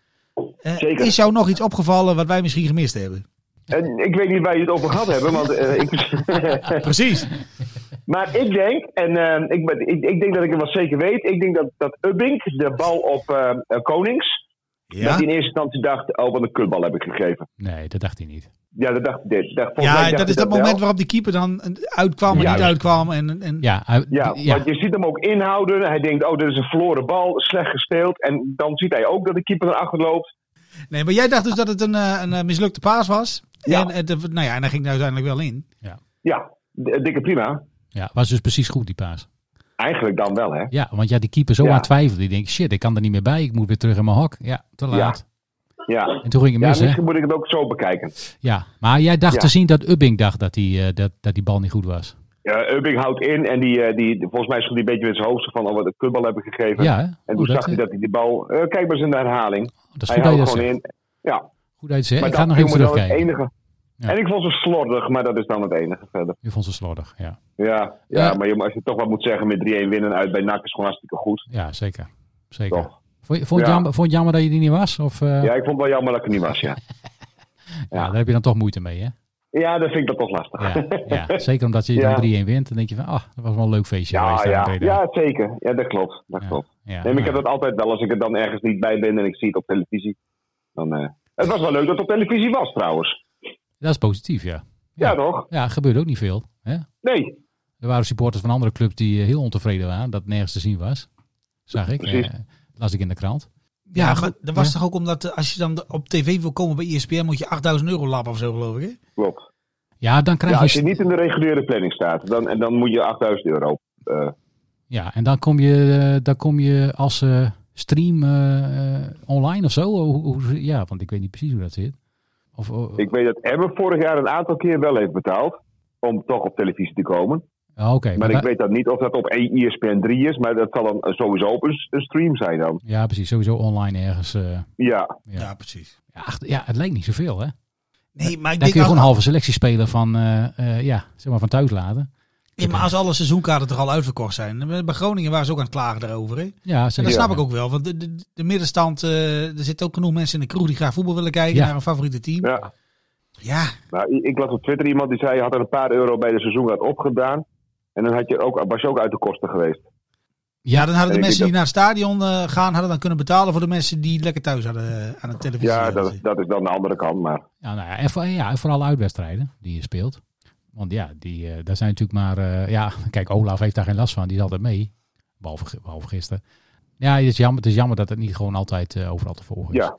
Speaker 2: Eh,
Speaker 5: Zeker.
Speaker 2: Is jou nog iets opgevallen wat wij misschien gemist hebben?
Speaker 5: En ik weet niet waar je het over gehad hebben, want eh, ik...
Speaker 2: Precies.
Speaker 5: maar ik denk, en eh, ik, ben- ik, ik denk dat ik het wel zeker weet, ik denk dat, dat Ubbink de bal op eh, eh, Konings, dat
Speaker 2: Ja,
Speaker 5: hij in eerste instantie dacht, oh wat een kutbal heb ik gegeven.
Speaker 1: Nee, dat dacht hij niet.
Speaker 5: Ja, dat dacht ik dit. Dacht, volgens mij
Speaker 2: ja
Speaker 5: dacht
Speaker 2: dat
Speaker 5: hij
Speaker 2: is dat
Speaker 5: wel.
Speaker 2: moment waarop die keeper dan uitkwam en niet
Speaker 5: Juist.
Speaker 2: uitkwam. En, en,
Speaker 1: Ja, hij-
Speaker 5: Ja,
Speaker 1: ja,
Speaker 5: want je ziet hem ook inhouden. Hij denkt, oh, dit is een verloren bal, slecht gespeeld. En dan ziet hij ook dat de keeper erachter loopt.
Speaker 2: Nee, maar jij dacht dus dat het een, eh, een eh, mislukte paas was.
Speaker 5: Ja.
Speaker 2: En, het, eh, nou ja, en hij ging er uiteindelijk wel in.
Speaker 5: Ja, d- dikke prima.
Speaker 1: ja, was dus precies goed die paas.
Speaker 5: Eigenlijk dan wel, hè?
Speaker 1: Ja, want ja, die keeper zo
Speaker 5: Ja.
Speaker 1: aan twijfelde. Die denkt, shit, ik kan er niet meer bij. Ik moet weer terug in mijn hok. Ja, te laat.
Speaker 5: Ja.
Speaker 1: En toen ging
Speaker 5: Ja,
Speaker 1: het mis,
Speaker 5: misschien
Speaker 1: hè?
Speaker 5: moet ik het ook zo bekijken.
Speaker 1: Ja, maar jij dacht
Speaker 5: Ja.
Speaker 1: te zien dat Ubbing dacht dat die, eh, dat, dat die bal niet goed was.
Speaker 5: Ja, Ubbing houdt in en die, eh, die, volgens mij stond hij een beetje met zijn hoofd van oh, wat een kutbal heb ik gegeven.
Speaker 1: Ja, hè?
Speaker 5: En
Speaker 1: Hoe
Speaker 5: toen zag
Speaker 1: eh,
Speaker 5: hij dat hij die bal. eh, kijk maar eens in de herhaling.
Speaker 1: dat is goed dat
Speaker 5: Hij
Speaker 1: je
Speaker 5: houdt
Speaker 1: dat
Speaker 5: gewoon
Speaker 1: zegt.
Speaker 5: in. Ja,
Speaker 1: Goed dat je het zegt.
Speaker 5: maar
Speaker 1: Ik ga nog
Speaker 5: dat viel
Speaker 1: even
Speaker 5: me dan het
Speaker 1: terugkijken.
Speaker 5: enige.
Speaker 1: Ja.
Speaker 5: En ik vond ze slordig, maar dat is dan het enige verder.
Speaker 1: Je vond ze slordig, ja.
Speaker 5: Ja, ja,
Speaker 1: Ja.
Speaker 5: maar jongen, als je toch wat moet zeggen met 3-1 winnen uit bij NAC is gewoon hartstikke goed.
Speaker 1: Ja, zeker. Zeker.
Speaker 5: Toch?
Speaker 1: Vond je, vond, je
Speaker 5: Ja.
Speaker 1: jammer, vond je jammer dat je die niet was? Of, eh,
Speaker 5: Ja, ik vond het wel jammer dat ik er niet was, ja.
Speaker 1: ja, daar heb je dan toch moeite mee, hè?
Speaker 5: Ja, dat vind ik dat toch lastig.
Speaker 1: Ja, ja, zeker omdat je
Speaker 5: Ja.
Speaker 1: dan 3-1 wint. Dan denk je van, ah, dat was wel een leuk feestje
Speaker 5: Ja,
Speaker 1: geweest. daar in
Speaker 5: ja,
Speaker 1: Breda.
Speaker 5: ja, zeker. Ja, dat klopt. Dat
Speaker 1: Ja.
Speaker 5: klopt.
Speaker 1: Ja,
Speaker 5: Nee, maar ik heb
Speaker 1: nou,
Speaker 5: dat altijd wel. Als ik er dan ergens niet bij ben en ik zie het op televisie. Dan, eh, Het was wel leuk dat het op televisie was trouwens.
Speaker 1: dat is positief, ja.
Speaker 5: Ja,
Speaker 1: Ja.
Speaker 5: toch?
Speaker 1: Ja, gebeurt ook niet veel. Hè?
Speaker 5: Nee.
Speaker 1: Er waren supporters van andere clubs die eh, heel ontevreden waren dat het nergens te zien was. Zag ik.
Speaker 5: Precies.
Speaker 1: eh, las ik in de krant.
Speaker 2: Ja,
Speaker 1: Ja,
Speaker 2: maar
Speaker 1: goed,
Speaker 2: dat was
Speaker 1: ja.
Speaker 2: toch ook omdat eh, als je dan op tv wil komen bij E ESPN moet je 8000 euro lappen of zo geloof ik. Hè?
Speaker 5: Klopt.
Speaker 1: Ja, dan krijg
Speaker 5: Ja, als
Speaker 1: je
Speaker 5: je niet in de reguliere planning staat, dan, en dan moet je 8000 euro eh,
Speaker 1: Ja, en dan kom je, eh, dan kom je als eh, stream eh, eh, online of zo. Hoe, hoe- ja, want ik weet niet precies hoe dat zit. Of, oh,
Speaker 5: Ik weet dat Emmen vorig jaar een aantal keer wel heeft betaald. Om toch op televisie te komen.
Speaker 1: oh, Oké,
Speaker 5: Maar
Speaker 1: maar
Speaker 5: ik
Speaker 1: wij-
Speaker 5: weet dat niet of dat op E ESPN 3 is. Maar dat zal dan sowieso op een, s- een stream zijn dan.
Speaker 1: ja, precies. Sowieso online ergens. eh.
Speaker 5: Ja,
Speaker 1: Ja.
Speaker 2: precies.
Speaker 1: ja, ach, ja, het lijkt niet zoveel, hè?
Speaker 2: Nee, maar
Speaker 1: Dan
Speaker 2: ik denk nou-
Speaker 1: kun je gewoon
Speaker 2: als,
Speaker 1: een halve selectie spelen van, eh, eh, ja, zeg maar van thuis laten.
Speaker 2: ja, maar als alle seizoenkaarten toch al uitverkocht zijn. Bij Groningen waren ze ook aan het klagen daarover. Hè?
Speaker 1: Ja,
Speaker 2: En
Speaker 1: zeker.
Speaker 2: dat snap
Speaker 1: Ja.
Speaker 2: ik ook wel. Want de, de, de middenstand, eh, er zitten ook genoeg mensen in de kroeg die graag voetbal willen kijken
Speaker 1: Ja.
Speaker 2: naar een favoriete team. Ja,
Speaker 5: ja. Nou, i- ik las op Twitter iemand die zei... je had er een paar euro bij de seizoenraad opgedaan. En dan had je ook, was je ook uit de kosten geweest.
Speaker 2: Ja, dan hadden de
Speaker 5: Ik
Speaker 2: mensen die
Speaker 5: denk
Speaker 2: naar het stadion eh, gaan, hadden dan kunnen betalen voor de mensen die lekker thuis hadden eh, aan de televisie.
Speaker 5: Ja,
Speaker 2: hadden
Speaker 5: dat, is-
Speaker 2: zitten.
Speaker 5: dat is dan de andere kant. Maar
Speaker 1: Ja, nou ja, en voor, ja, en vooral uitwedstrijden die je speelt. Want ja, die, eh, daar zijn natuurlijk maar... eh, ja, kijk, Olaf heeft daar geen last van. Die is altijd mee. Behalve, gi- behalve gisteren. Ja, het is, jammer, het is jammer dat het niet gewoon altijd eh, overal te volgen is.
Speaker 5: ja.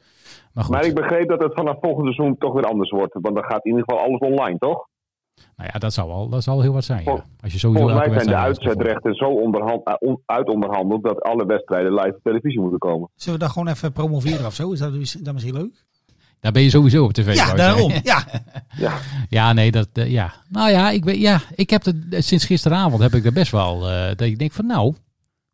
Speaker 1: Maar goed,
Speaker 5: Maar ik begreep dat het vanaf volgend seizoen toch weer anders wordt. Want dan gaat in ieder geval alles online, toch?
Speaker 1: nou ja, dat zou wel, dat zou wel heel wat zijn. Ja.
Speaker 5: Vol-
Speaker 1: Als je sowieso
Speaker 5: Volgens mij
Speaker 1: elke
Speaker 5: zijn de
Speaker 1: wedstrijd wil volgen.
Speaker 5: uitzetrechten zo onderhand, eh, on- uitonderhandeld... dat alle wedstrijden live op televisie moeten komen.
Speaker 2: Zullen we daar gewoon even promoveren of zo? Is dat, is dat misschien leuk?
Speaker 1: Daar ben je sowieso op tv. wou
Speaker 2: Ja,
Speaker 1: je
Speaker 2: daarom.
Speaker 1: zeggen.
Speaker 2: Ja,
Speaker 5: Ja.
Speaker 1: Ja, nee, dat, eh, ja. Nou ja, ik, ben, ja, ik heb het, eh, sinds gisteravond heb ik er best wel, eh, dat ik denk van nou,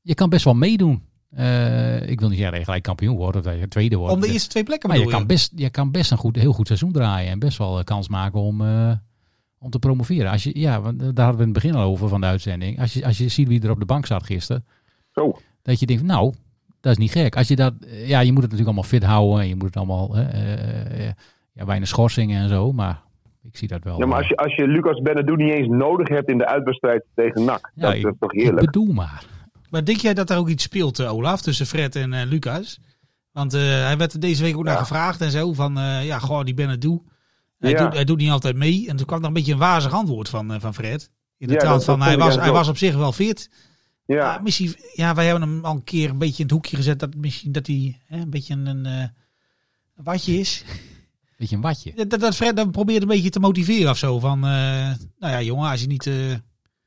Speaker 1: je kan best wel meedoen. Eh, ik wil niet zeggen dat je gelijk kampioen wordt of dat je tweede wordt.
Speaker 2: om de eerste twee plekken
Speaker 1: maar je
Speaker 2: bedoel
Speaker 1: kan best, je kan best een goed, heel goed seizoen draaien en best wel eh, kans maken om, eh, om te promoveren. Als je, ja, want eh, daar hadden we in het begin al over van de uitzending. Als je, als je ziet wie er op de bank zat gisteren,
Speaker 5: Zo.
Speaker 1: dat je denkt, nou, dat is niet gek. Als je dat, eh, ja, je moet het natuurlijk allemaal fit houden en je moet het allemaal, eh, eh, eh, ja, weinig schorsingen en zo, maar ik zie dat wel.
Speaker 5: Ja, maar
Speaker 1: eh,
Speaker 5: als je, als je Lucas Benedou niet eens nodig hebt in de uitwedstrijd tegen NAC,
Speaker 1: Ja,
Speaker 5: dat
Speaker 1: ik-
Speaker 5: is toch
Speaker 1: Ik
Speaker 5: heerlijk.
Speaker 1: bedoel maar.
Speaker 2: Maar denk jij dat er ook iets speelt, eh, Olaf, tussen Fred en eh, Lucas? Want eh, hij werd er deze week ook naar
Speaker 5: Ja.
Speaker 2: gevraagd en zo van, eh, ja, goh, die ben het doe. Hij,
Speaker 5: Ja.
Speaker 2: doet, hij doet niet altijd mee. En toen kwam er een beetje een wazig antwoord van, eh, van Fred. In de
Speaker 5: Ja,
Speaker 2: trant
Speaker 5: dat- dat
Speaker 2: van, hij
Speaker 5: vond ik
Speaker 2: was,
Speaker 5: echt
Speaker 2: hij
Speaker 5: wel.
Speaker 2: was op zich wel fit. Maar
Speaker 5: Ja,
Speaker 2: misschien, ja, wij hebben hem al een keer een beetje in het hoekje gezet. Dat misschien dat hij hè, een beetje een eh, watje is.
Speaker 1: Weet je, een watje.
Speaker 2: Dat, dat- dat Fred dan probeert een beetje te motiveren of zo. Van, eh, nou ja, jongen, als je niet... eh,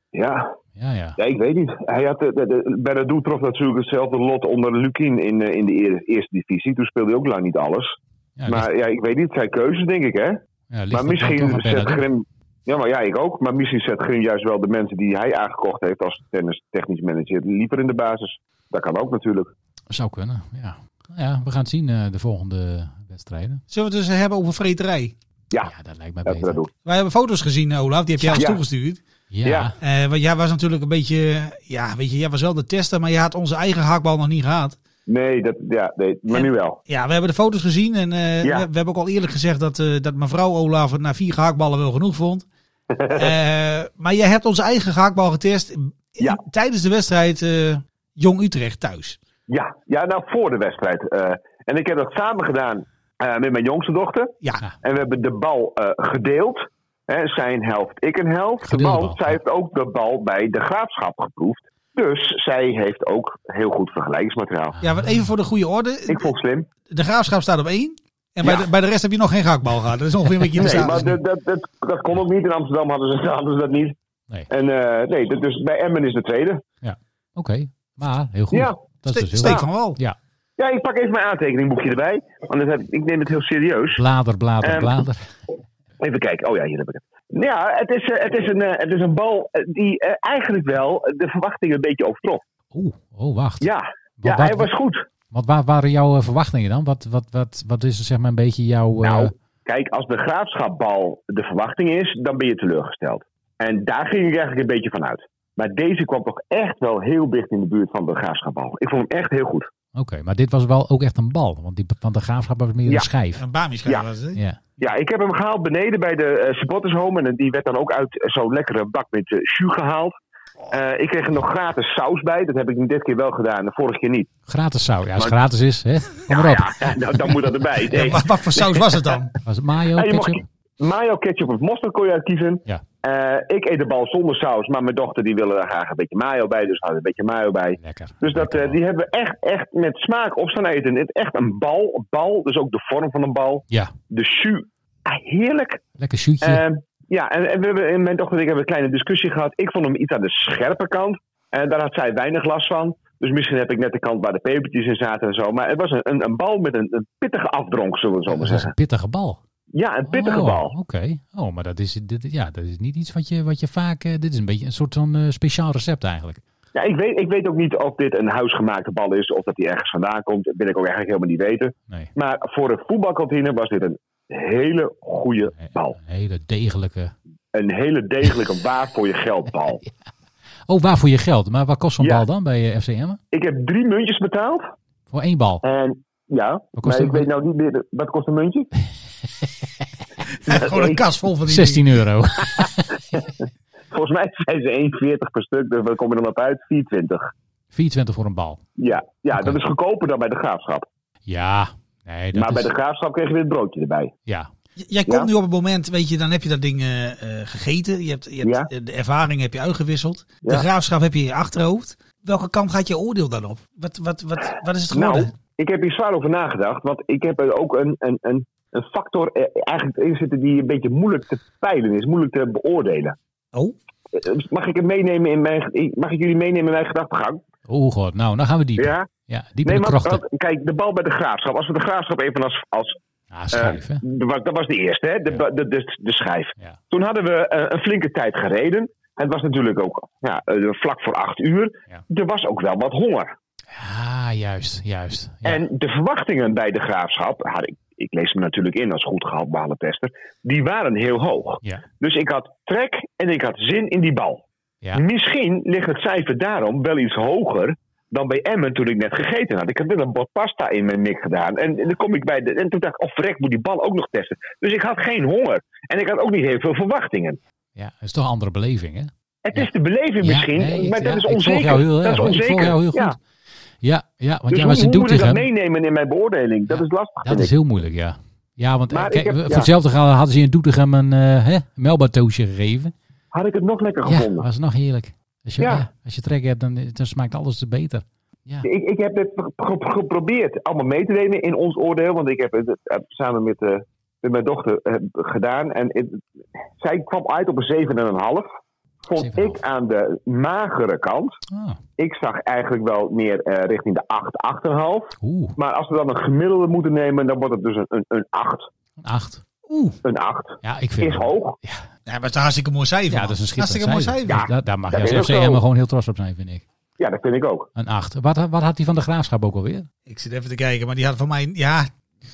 Speaker 5: ja.
Speaker 1: Ja, ja.
Speaker 5: ja, ik weet niet. Hij had, de, de, de- Benedou trof natuurlijk hetzelfde lot onder Lukien in, eh, in de eer- eerste divisie. Toen speelde hij ook lang niet alles.
Speaker 1: ja ligt-
Speaker 5: maar ja, ik weet niet. Het zijn keuzes, denk ik, hè?
Speaker 1: ja, ligt
Speaker 5: Maar
Speaker 1: het toch aan
Speaker 5: misschien zet
Speaker 1: Bernardo?
Speaker 5: Grim... Ja, maar ja, ik ook. Maar misschien zet Grim juist wel de mensen die hij aangekocht heeft als tennis, technisch manager liever in de basis. Dat kan ook natuurlijk.
Speaker 1: Zou kunnen, ja. Nou Ja, we gaan het zien eh, de volgende wedstrijden.
Speaker 2: zullen we het dus hebben over vreterij?
Speaker 5: Ja,
Speaker 1: Ja, dat lijkt mij
Speaker 5: dat we dat
Speaker 1: beter.
Speaker 5: doen.
Speaker 2: Wij hebben foto's gezien, eh, Olaf. Die heb jij ons
Speaker 5: Ja.
Speaker 2: toegestuurd.
Speaker 1: Ja,
Speaker 5: Ja.
Speaker 2: Eh, want jij was natuurlijk een beetje, ja, weet je, jij was wel de tester, maar je had onze eigen hakbal nog niet gehad.
Speaker 5: Nee, dat, ja, nee, maar
Speaker 2: En-
Speaker 5: nu wel.
Speaker 2: Ja, we hebben de foto's gezien en eh,
Speaker 5: Ja.
Speaker 2: we, we hebben ook al eerlijk gezegd dat, eh, dat mevrouw Olaf het na vier gehaakballen wel genoeg vond. Eh, maar jij hebt onze eigen gehaakbal getest in-
Speaker 5: Ja.
Speaker 2: tijdens de wedstrijd eh, Jong Utrecht thuis.
Speaker 5: Ja, ja nou voor de wedstrijd. Eh, en ik heb dat samen gedaan eh, met mijn jongste dochter.
Speaker 2: Ja,
Speaker 5: En we hebben de bal eh, gedeeld. Hè, zijn helft, ik een helft.
Speaker 1: Gedeelde
Speaker 5: Want
Speaker 1: bal,
Speaker 5: zij
Speaker 1: ja.
Speaker 5: heeft ook de bal bij de graafschap geproefd. Dus zij heeft ook heel goed vergelijkingsmateriaal.
Speaker 2: ja want even voor de goede orde,
Speaker 5: Ik vond het slim.
Speaker 2: de graafschap staat op één. En bij,
Speaker 5: Ja.
Speaker 2: de, bij de rest heb je nog geen gehaakbal gehad. Dat is ongeveer wat je in de
Speaker 5: Nee,
Speaker 2: status
Speaker 5: maar
Speaker 2: doet.
Speaker 5: dat, dat, dat, dat kon ook niet. In Amsterdam hadden ze, hadden ze dat niet.
Speaker 1: Nee.
Speaker 5: En eh, nee, dat- dus bij Emmen is de tweede.
Speaker 1: Oké, maar heel goed.
Speaker 5: Ja.
Speaker 1: Dat is
Speaker 2: Ste-
Speaker 1: dus heel
Speaker 2: Steek van Wal.
Speaker 1: Ja,
Speaker 5: Ja, ik pak even mijn aantekeningboekje erbij. Want dat heb, ik neem het heel serieus.
Speaker 1: blader, blader,
Speaker 5: Ehm,
Speaker 1: blader.
Speaker 5: Even kijken. Oh ja, hier heb ik het. Ja, het is, eh, het is, een, eh, het is een bal eh, die eh, eigenlijk wel de verwachtingen een beetje overtrof.
Speaker 1: Oeh, oh, wacht.
Speaker 5: Ja, ja
Speaker 1: Wat-
Speaker 5: hij
Speaker 1: wat-
Speaker 5: was goed.
Speaker 1: Wat wa- waren jouw eh, verwachtingen dan? Wat, wat, wat, wat is er, zeg maar een beetje jouw... eh,
Speaker 5: Nou, kijk, als de graafschapbal de verwachting is, dan ben je teleurgesteld. En daar ging ik eigenlijk een beetje van uit. Maar deze kwam toch echt wel heel dicht in de buurt van de graafschapbal. Ik vond hem echt heel goed.
Speaker 1: Oké, maar dit was wel ook echt een bal. Want, die, want de graafschap was meer
Speaker 5: Ja.
Speaker 1: een schijf.
Speaker 2: Een Bami
Speaker 5: Ja.
Speaker 2: was het. hè?
Speaker 1: Ja.
Speaker 5: Ja, ik heb hem gehaald beneden bij de eh supporters home. En die werd dan ook uit zo'n lekkere bak met eh, jus gehaald.
Speaker 1: Oh.
Speaker 5: Eh, ik kreeg er nog gratis saus bij. Dat heb ik dit keer wel gedaan, de vorige keer niet.
Speaker 1: Gratis zou. Ja, als het
Speaker 5: Maar-
Speaker 1: gratis is, hè. Kom maar op.
Speaker 5: Ja, dan, dan moet dat erbij. Nee.
Speaker 2: Ja, wat, wat voor saus was het dan?
Speaker 1: Was het mayo,
Speaker 5: Ja, je mag-
Speaker 1: ketchup?
Speaker 5: Mayo, ketchup of mosterd kon je uitkiezen.
Speaker 1: Ja.
Speaker 5: Eh, ik eet de bal zonder saus, maar mijn dochter die wil er graag een beetje mayo bij, dus houdt een beetje mayo bij.
Speaker 1: Lekker.
Speaker 5: Dus dat,
Speaker 1: Lekker
Speaker 5: eh, die hebben we echt, echt met smaak op staan eten. Het is echt een bal, bal, dus ook de vorm van een bal.
Speaker 1: Ja,
Speaker 5: De jus, ah, heerlijk.
Speaker 1: lekker shootje.
Speaker 5: Ehm, ja, en, en we hebben, in mijn dochter en ik hebben een kleine discussie gehad. Ik vond hem iets aan de scherpe kant. En daar had zij weinig last van. Dus misschien heb ik net de kant waar de pepertjes in zaten en zo. Maar het was een, een, een bal met een, een pittige afdronk, zullen we zo maar
Speaker 1: dat is
Speaker 5: zeggen.
Speaker 1: een pittige bal.
Speaker 5: Ja, een pittige
Speaker 1: Oh,
Speaker 5: bal.
Speaker 1: Oké. Oh, maar dat is, dit, ja, dat is niet iets wat je, wat je vaak... eh, dit is een beetje een soort van eh, speciaal recept eigenlijk.
Speaker 5: Ja, ik weet, ik weet ook niet of dit een huisgemaakte bal is of dat die ergens vandaan komt. Dat wil ik ook eigenlijk helemaal niet weten.
Speaker 1: Nee.
Speaker 5: Maar voor een voetbalkantine was dit een hele goede
Speaker 1: Eh,
Speaker 5: bal.
Speaker 1: Een hele degelijke...
Speaker 5: Een hele degelijke waar voor je geld bal.
Speaker 1: Oh, waar voor je geld? Maar wat kost zo'n
Speaker 5: Ja.
Speaker 1: bal dan bij eh, FC Emmen?
Speaker 5: Ik heb drie muntjes betaald.
Speaker 1: Voor één bal?
Speaker 5: En ja,
Speaker 1: kost
Speaker 5: maar
Speaker 1: een
Speaker 5: ik
Speaker 1: munt?
Speaker 5: weet nou niet meer. Wat kost een muntje?
Speaker 2: Gewoon een kas vol van die
Speaker 1: 16 euro.
Speaker 5: Volgens mij zijn ze 1,40 per stuk. Dus wat kom je dan op uit? 4,20.
Speaker 1: 24 voor een bal.
Speaker 5: Ja, ja
Speaker 1: Oké.
Speaker 5: dat is goedkoper dan bij de graafschap.
Speaker 1: Ja. Nee, dat
Speaker 5: maar bij
Speaker 1: is-
Speaker 5: de graafschap kreeg je weer het broodje erbij.
Speaker 1: Ja.
Speaker 2: J- Jij komt
Speaker 5: Ja.
Speaker 2: nu op het moment, weet je, dan heb je dat ding eh, eh, gegeten. Je hebt, je hebt,
Speaker 5: Ja.
Speaker 2: eh, De ervaring heb je uitgewisseld. De
Speaker 5: Ja.
Speaker 2: graafschap heb je in je achterhoofd. Welke kant gaat je oordeel dan op? Wat, wat, wat, wat is het geworden?
Speaker 5: Nou, ik heb hier zwaar over nagedacht. Want ik heb er ook een, een, een, een factor eh, eigenlijk in zitten die een beetje moeilijk te peilen is. Moeilijk te beoordelen.
Speaker 2: Oh,
Speaker 5: Eh, Mag ik, het meenemen in mijn, mag ik jullie meenemen in mijn gedachtegang?
Speaker 1: Oh god, nou, dan gaan we diep. Ja,
Speaker 5: Ja?
Speaker 1: diep
Speaker 5: Nee,
Speaker 1: in de
Speaker 5: maar
Speaker 1: krochten.
Speaker 5: want, kijk, de bal bij de graafschap. Als we de graafschap even als, als
Speaker 1: Ah, schijf, hè?
Speaker 5: Dat was, dat was de eerste, hè? De,
Speaker 1: Ja.
Speaker 5: ba- de, de, de schijf.
Speaker 1: Ja.
Speaker 5: Toen hadden we eh, een flinke tijd gereden. Het was natuurlijk ook ja, eh, vlak voor acht uur.
Speaker 1: Ja.
Speaker 5: Er was ook wel wat honger.
Speaker 1: Ah, juist, juist. Ja.
Speaker 5: En de verwachtingen bij de graafschap, had ik, ik lees me natuurlijk in als goed gehaaldbare tester, die waren heel hoog.
Speaker 1: ja.
Speaker 5: Dus ik had trek en ik had zin in die bal.
Speaker 1: Ja.
Speaker 5: Hm? Misschien ligt het cijfer daarom wel iets hoger dan bij Emmen toen ik net gegeten had. Ik had net een bord pasta in mijn mik gedaan. En, en dan kom ik bij de, en toen dacht ik, oh verrek, moet die bal ook nog testen. Dus ik had geen honger. En ik had ook niet heel veel verwachtingen.
Speaker 1: ja, dat is toch een andere beleving, hè?
Speaker 5: Het
Speaker 1: Ja.
Speaker 5: is de beleving misschien,
Speaker 1: ja, nee,
Speaker 5: maar
Speaker 1: ik-
Speaker 5: dat
Speaker 1: ja,
Speaker 5: is onzeker.
Speaker 1: Ik volg jou heel
Speaker 5: dat
Speaker 1: erg,
Speaker 5: is
Speaker 1: hoor. ik
Speaker 5: onzeker.
Speaker 1: volg jou heel
Speaker 5: Ja.
Speaker 1: goed. Ja, ja want
Speaker 5: Dus
Speaker 1: jij
Speaker 5: hoe,
Speaker 1: was een
Speaker 5: hoe
Speaker 1: doel
Speaker 5: moet ik
Speaker 1: tegen
Speaker 5: dat
Speaker 1: hem.
Speaker 5: meenemen in mijn beoordeling? Dat
Speaker 1: Ja.
Speaker 5: is lastig,
Speaker 1: Dat
Speaker 5: vind
Speaker 1: is
Speaker 5: ik.
Speaker 1: heel moeilijk, ja. Ja, want eh,
Speaker 5: Maar ik
Speaker 1: kijk,
Speaker 5: heb-
Speaker 1: voor
Speaker 5: ja.
Speaker 1: hetzelfde geld hadden ze in Doetinchem een eh, hè, melbatoosje gegeven.
Speaker 5: Had ik het nog lekker
Speaker 1: Ja,
Speaker 5: gevonden.
Speaker 1: was nog heerlijk. Als je,
Speaker 5: Ja.
Speaker 1: ja, als je trek hebt, dan, dan smaakt alles beter. Ja.
Speaker 5: Ik, ik heb het ge- ge- geprobeerd allemaal mee te nemen in ons oordeel. Want ik heb het eh, samen met, eh, met mijn dochter eh, gedaan. En het- zij kwam uit op een 7,5. Vond
Speaker 1: 7,5.
Speaker 5: ik aan de magere kant.
Speaker 1: Ah,
Speaker 5: Ik zag eigenlijk wel meer eh, richting de 8, 8,5.
Speaker 1: oeh,
Speaker 5: Maar als we dan een gemiddelde moeten nemen, dan wordt het dus een, een, een 8.
Speaker 1: een acht.
Speaker 2: oeh.
Speaker 5: Een 8
Speaker 1: Ja, ik vind
Speaker 5: is hoog.
Speaker 2: Ja, maar het is een hartstikke mooi cijfer.
Speaker 1: Ja,
Speaker 2: man.
Speaker 1: dat is een
Speaker 2: hartstikke
Speaker 1: schitterend
Speaker 2: mooi
Speaker 1: cijfer.
Speaker 2: cijfer.
Speaker 5: Ja.
Speaker 1: Dus daar, daar mag
Speaker 5: dat
Speaker 1: je
Speaker 5: is ook
Speaker 1: als FCM
Speaker 5: zo.
Speaker 1: gewoon heel trots op zijn, vind ik.
Speaker 5: Ja, dat vind ik ook.
Speaker 1: Een 8. Wat, wat had hij van de graafschap ook alweer?
Speaker 2: Ik zit even te kijken, maar die had voor mij... Ja,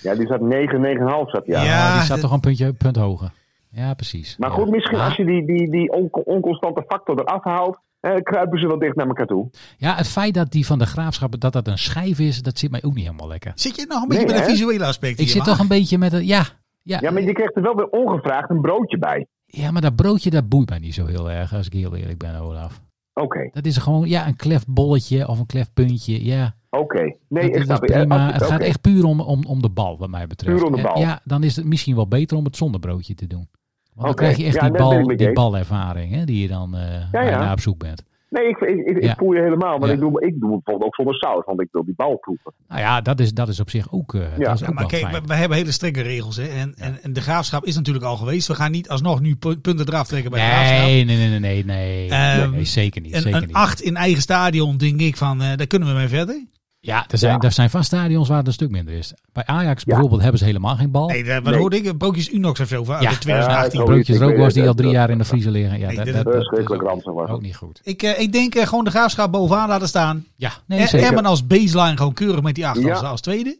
Speaker 5: Ja, die zat 9, 9,5 zat ja.
Speaker 2: Ja.
Speaker 1: Oh, die zat
Speaker 2: dat-
Speaker 1: toch een puntje, punt hoger. Ja, precies.
Speaker 5: Maar
Speaker 1: Ja.
Speaker 5: goed, misschien
Speaker 1: Maar-
Speaker 5: als je die, die, die onco- onconstante factor eraf haalt, eh, kruipen ze wel dicht naar elkaar toe.
Speaker 1: Ja, het feit dat die van de graafschap dat dat een schijf is, dat zit mij ook niet helemaal lekker.
Speaker 2: zit je nog een beetje
Speaker 5: Nee,
Speaker 2: met een
Speaker 5: hè?
Speaker 2: visuele aspect
Speaker 1: Ik
Speaker 2: hier,
Speaker 1: zit
Speaker 2: maar-
Speaker 1: toch een beetje met het. Ja, ja,
Speaker 5: Ja, maar je krijgt er wel weer ongevraagd een broodje bij.
Speaker 1: ja, maar dat broodje dat boeit mij niet zo heel erg, als ik heel eerlijk ben, Olaf.
Speaker 5: Oké,
Speaker 1: Dat is gewoon ja, een klefbolletje of een klefpuntje. Ja,
Speaker 5: oké. Nee,
Speaker 1: dat
Speaker 5: ik
Speaker 1: is dus
Speaker 5: snap eh,
Speaker 1: prima.
Speaker 5: absoluut,
Speaker 1: Het gaat
Speaker 5: oké.
Speaker 1: echt puur om, om, om de bal, wat mij betreft.
Speaker 5: Puur om de
Speaker 1: Eh,
Speaker 5: bal.
Speaker 1: Ja, dan is het misschien wel beter om het zonder broodje te doen. Want dan
Speaker 5: Oké.
Speaker 1: krijg je echt
Speaker 5: Ja,
Speaker 1: die,
Speaker 5: dat ben ik
Speaker 1: bal,
Speaker 5: met
Speaker 1: die
Speaker 5: je.
Speaker 1: balervaring hè, die je dan eh waar je
Speaker 5: ja.
Speaker 1: naar op zoek bent.
Speaker 5: Nee, ik, ik, ik, ik
Speaker 1: Ja.
Speaker 5: voel je helemaal, maar
Speaker 1: Ja.
Speaker 5: ik, doe, ik doe het bijvoorbeeld ook zonder saus, want ik wil die bal proeven.
Speaker 1: Nou ja, dat is, dat is op zich ook, eh
Speaker 5: Ja,
Speaker 1: dat is
Speaker 2: Ja,
Speaker 1: ook
Speaker 2: maar
Speaker 1: wel
Speaker 2: kijk,
Speaker 1: fijn.
Speaker 2: we, we hebben hele strenge regels. Hè? En, en, en de graafschap is natuurlijk al geweest. We gaan niet alsnog nu pu- punten eraf trekken bij de graafschap.
Speaker 1: Nee, nee, nee, nee, nee, nee,
Speaker 2: Ehm,
Speaker 1: nee, zeker niet.
Speaker 2: Een,
Speaker 1: zeker
Speaker 2: een
Speaker 1: niet.
Speaker 2: 8 in eigen stadion, denk ik van, eh, daar kunnen we mee verder.
Speaker 1: Ja, er zijn,
Speaker 5: Ja.
Speaker 1: er zijn vast stadions waar het een stuk minder is. Bij Ajax bijvoorbeeld hebben ze helemaal geen bal.
Speaker 2: Nee, daar daar
Speaker 5: Nee.
Speaker 2: hoorde ik Broodjes Unox en veel van uit
Speaker 1: Oh, Ja.
Speaker 2: de 2018.
Speaker 5: Ja, ik ook.
Speaker 1: Broodjes
Speaker 5: ik weet
Speaker 1: rookworst
Speaker 5: het,
Speaker 1: die al
Speaker 5: dat-
Speaker 1: drie
Speaker 5: dat-
Speaker 1: jaar in de vriezer liggen. Ja,
Speaker 2: Nee,
Speaker 1: dat,
Speaker 2: dit
Speaker 1: dat,
Speaker 2: is
Speaker 1: dat-
Speaker 5: verschrikkelijk
Speaker 1: dat is
Speaker 5: ranzig was
Speaker 1: ook,
Speaker 5: het.
Speaker 1: ook niet goed.
Speaker 2: ik, eh, ik denk eh, gewoon de graafschap bovenaan laten staan.
Speaker 1: Ja, nee,
Speaker 2: En
Speaker 1: zeker.
Speaker 2: Emmen als baseline gewoon keurig met die 8
Speaker 5: Ja.
Speaker 2: als, als tweede.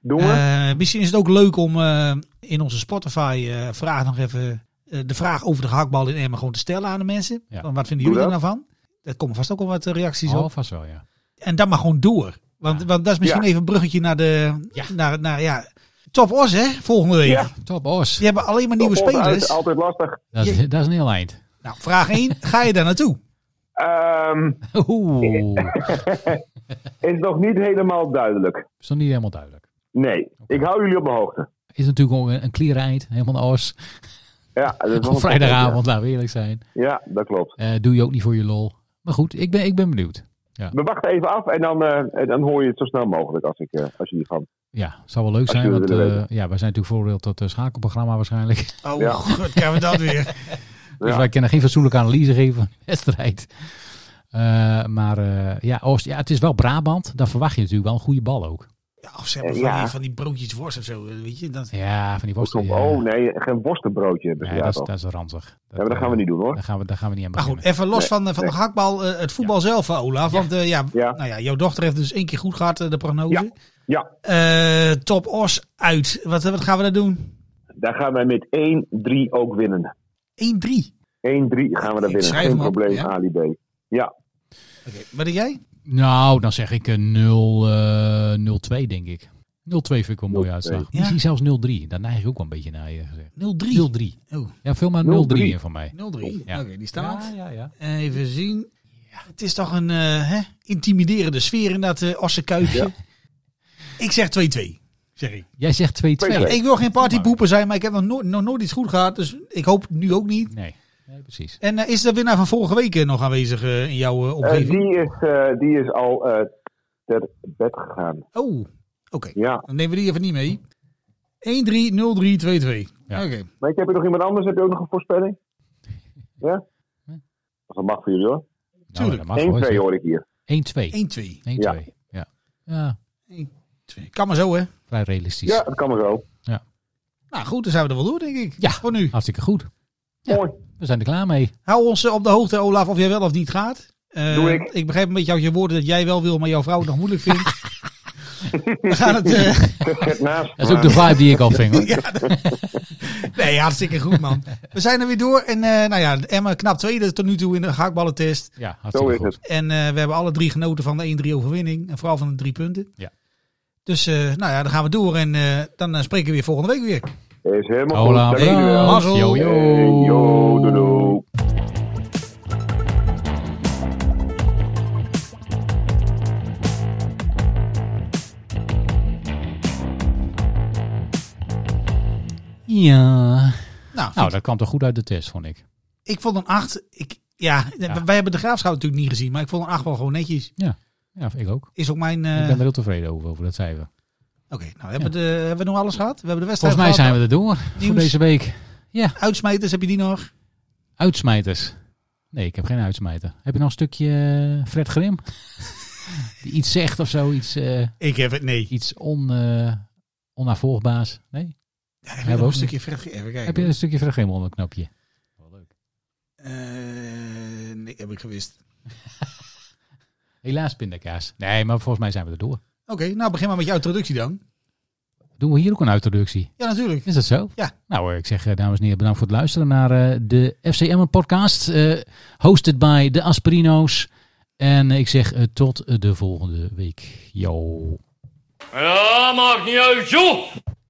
Speaker 5: Doen we?
Speaker 2: Eh, misschien is het ook leuk om eh, in onze Spotify-vraag nog even eh, de vraag over de hakbal in Emmen gewoon te stellen aan de mensen.
Speaker 1: Ja.
Speaker 2: Van, wat vinden
Speaker 5: Doe
Speaker 2: jullie er nou
Speaker 5: dat.
Speaker 2: van? Er komen vast ook wel wat eh, reacties
Speaker 1: Oh,
Speaker 2: op.
Speaker 1: vast wel, ja.
Speaker 2: En dan maar gewoon door. Want, want dat is misschien
Speaker 5: Ja.
Speaker 2: even een bruggetje naar de...
Speaker 1: Ja.
Speaker 2: Naar, naar, ja. Top Os, hè? Volgende week.
Speaker 5: Ja.
Speaker 1: Top, Os.
Speaker 2: Die hebben alleen maar nieuwe
Speaker 5: Op- op- uit-
Speaker 2: spelers.
Speaker 5: altijd lastig.
Speaker 1: Dat, is, dat is een heel eind.
Speaker 2: Nou, vraag 1. ga je daar naartoe?
Speaker 5: Ehm,
Speaker 1: Oeh,
Speaker 5: is nog niet helemaal duidelijk.
Speaker 1: is nog niet helemaal duidelijk.
Speaker 5: Nee, ik hou jullie op de hoogte.
Speaker 1: Is natuurlijk ook een, een clear eind, helemaal naar Os.
Speaker 5: Ja, dat was
Speaker 1: Op vrijdagavond, laten we eerlijk zijn.
Speaker 5: Ja, dat klopt.
Speaker 1: Eh, doe je ook niet voor je lol. Maar goed, ik ben, ik ben benieuwd.
Speaker 5: We wachten even af en dan, eh, en dan hoor je het zo snel mogelijk als, ik, eh, als je hiervan.
Speaker 1: Ja, zou wel leuk
Speaker 5: Als
Speaker 1: zijn.
Speaker 5: jullie
Speaker 1: Want
Speaker 5: willen
Speaker 1: eh, ja, wij zijn natuurlijk voordeel tot het eh, schakelprogramma waarschijnlijk.
Speaker 2: Oh,
Speaker 5: Ja.
Speaker 2: god, gaan we dat weer.
Speaker 1: Dus
Speaker 5: Ja.
Speaker 1: wij kunnen geen fatsoenlijke analyse geven van de wedstrijd. Eh, maar eh, ja, Oost, ja, het is wel Brabant. Dan verwacht je natuurlijk wel een goede bal ook.
Speaker 2: Ja, of ze hebben van,
Speaker 5: Eh, Ja.
Speaker 2: die, van die broodjes worst of zo, eh, weet je. Dat,
Speaker 1: Ja, van die
Speaker 5: Hoe
Speaker 1: worsten.
Speaker 5: komt-
Speaker 1: ja.
Speaker 5: Oh nee, geen worstenbroodje hebben ze
Speaker 1: Nee,
Speaker 5: daar
Speaker 1: dat, is,
Speaker 5: toch?
Speaker 1: dat is ranzig. Dat, eh,
Speaker 5: Ja, maar dat gaan we niet doen hoor.
Speaker 1: Daar gaan we, daar gaan we niet aan
Speaker 2: Maar
Speaker 1: beginnen.
Speaker 2: goed, even los
Speaker 5: Nee,
Speaker 2: van, eh, van de
Speaker 5: nee.
Speaker 2: hakbal, eh, het voetbal zelf, eh, Olaf. Want eh, ja,
Speaker 5: Ja.
Speaker 2: Nou ja, jouw dochter heeft dus één keer goed gehad, eh, de prognose.
Speaker 5: Ja. Ja,
Speaker 2: Eh, top Os uit. Wat, wat gaan we daar doen?
Speaker 5: daar gaan wij met 1-3 ook winnen.
Speaker 2: 1-3.
Speaker 5: 1-3 gaan we daar
Speaker 2: Ik
Speaker 5: winnen.
Speaker 2: schrijf
Speaker 5: Geen
Speaker 2: hem op,
Speaker 5: probleem,
Speaker 2: ja.
Speaker 5: Ali B. Ja,
Speaker 2: Oké, Wat denk jij?
Speaker 1: Nou, dan zeg ik een 0, eh, 0-2 denk ik. 0-2 vind ik wel een mooie
Speaker 5: 0-2.
Speaker 1: uitslag.
Speaker 2: Ja.
Speaker 1: Misschien zelfs 0-3. Daar neig ik ook wel een beetje naar je gezegd.
Speaker 2: 0-3.
Speaker 1: 0-3.
Speaker 2: Oh, 0-3.
Speaker 1: Ja, veel maar 0-3
Speaker 5: 0-3.
Speaker 1: in van mij. Oh, Ja.
Speaker 2: Oké, die staat.
Speaker 1: ja, ja.
Speaker 2: Even zien. Het is toch een eh, hè, intimiderende sfeer in dat eh Osse kuitje. Ik zeg 2-2. Zeg ik.
Speaker 1: Jij zegt 2-2.
Speaker 5: 2-2.
Speaker 2: Ik wil geen partypoeper zijn, maar ik heb nog nooit, nog nooit iets goed gehad. Dus ik hoop nu ook niet.
Speaker 1: Nee. nee, precies.
Speaker 2: En eh, is de winnaar van vorige week eh, nog aanwezig eh, in jouw eh,
Speaker 5: Eh,
Speaker 2: omgeving?
Speaker 5: die, is, eh, die is al eh, ter bed gegaan.
Speaker 2: Oh, oké.
Speaker 5: Ja,
Speaker 2: Dan nemen we die even niet mee. 1-3-0-3-2-2.
Speaker 1: Ja.
Speaker 2: Oké.
Speaker 5: maar ik heb er nog iemand anders. Heb je ook nog een voorspelling? Ja? Dat mag voor jullie hoor.
Speaker 1: Nou,
Speaker 2: Tuurlijk.
Speaker 1: dat mag wel,
Speaker 5: 1-2
Speaker 1: hoor.
Speaker 5: hoor ik hier.
Speaker 1: 1-2.
Speaker 2: 1-2.
Speaker 1: 1-2.
Speaker 5: Ja.
Speaker 1: Ja. ja,
Speaker 2: Twee. Kan maar zo, hè?
Speaker 1: vrij realistisch.
Speaker 5: Ja, dat kan maar zo.
Speaker 2: Nou goed, dan zijn we er wel door, denk ik.
Speaker 1: Ja.
Speaker 2: Voor nu.
Speaker 1: Hartstikke goed. Ja.
Speaker 5: Mooi.
Speaker 1: We zijn er klaar mee.
Speaker 2: Hou ons eh, op de hoogte, Olaf, of jij wel of niet gaat. Eh,
Speaker 5: Doe ik.
Speaker 2: Ik begrijp een beetje uit je woorden dat jij wel wil, maar jouw vrouw het nog moeilijk vindt. we gaan het... eh,
Speaker 5: Zet naast.
Speaker 1: Dat is ook de vibe die ik al ving. hoor.
Speaker 2: nee, hartstikke goed, man. We zijn er weer door. En eh, nou ja, Emma knap tweede tot nu toe in de gehaktballentest.
Speaker 1: Ja,
Speaker 5: Zo
Speaker 1: hartstikke
Speaker 5: is
Speaker 1: goed.
Speaker 5: het.
Speaker 2: En eh, we hebben alle drie genoten van de 1-3 overwinning. En vooral van de drie punten.
Speaker 1: Ja.
Speaker 2: Dus eh, nou ja, dan gaan we door. En eh, dan eh, spreken we weer volgende week weer.
Speaker 5: Is helemaal
Speaker 1: Hola,
Speaker 5: goed. Dank jullie wel.
Speaker 1: bedankt.
Speaker 2: Mazzel.
Speaker 1: Yo,
Speaker 5: Hey,
Speaker 1: yo.
Speaker 5: yo, doei, doei.
Speaker 1: Ja.
Speaker 2: Nou,
Speaker 1: Nou, dat kwam toch goed uit de test, vond ik.
Speaker 2: ik vond een 8. Ik, ja,
Speaker 1: Ja.
Speaker 2: wij hebben de graafschouw natuurlijk niet gezien. Maar ik vond een 8 wel gewoon netjes.
Speaker 1: Ja, ik ook.
Speaker 2: Is ook mijn. eh,
Speaker 1: Ik ben er heel tevreden over, over dat cijfer.
Speaker 2: Oké, nou hebben, we de, hebben we nog alles gehad? We hebben de wedstrijd.
Speaker 1: Volgens mij
Speaker 2: gehad.
Speaker 1: zijn we er door voor
Speaker 2: Nieuws.
Speaker 1: deze week.
Speaker 2: Uitsmijters, heb je die nog?
Speaker 1: Uitsmijters. Nee, ik heb geen uitsmijter. Heb je nog een stukje eh, Fred Grim? Die iets zegt of zo, iets, eh,
Speaker 2: Ik heb het, nee.
Speaker 1: iets on, eh onnavolgbaars. Nee?
Speaker 2: Ja, heb
Speaker 1: we
Speaker 2: je nog
Speaker 1: ook
Speaker 2: een stukje verder? Even kijken.
Speaker 1: Heb je een stukje Fred Grim onder een knopje?
Speaker 2: Eh, nee, heb ik gewist.
Speaker 1: Helaas pindakaas. Nee, maar volgens mij zijn we er door.
Speaker 2: Oké, nou begin maar met jouw introductie dan.
Speaker 1: Doen we hier ook een introductie?
Speaker 2: Ja, natuurlijk.
Speaker 1: Is dat zo?
Speaker 2: Ja.
Speaker 1: Nou, eh, ik zeg eh, dames en heren bedankt voor het luisteren naar eh, de FCM podcast. eh, hosted by de Aspirino's. En ik zeg eh, tot eh, de volgende week. Yo.
Speaker 6: Ja, maakt niet uit, joh!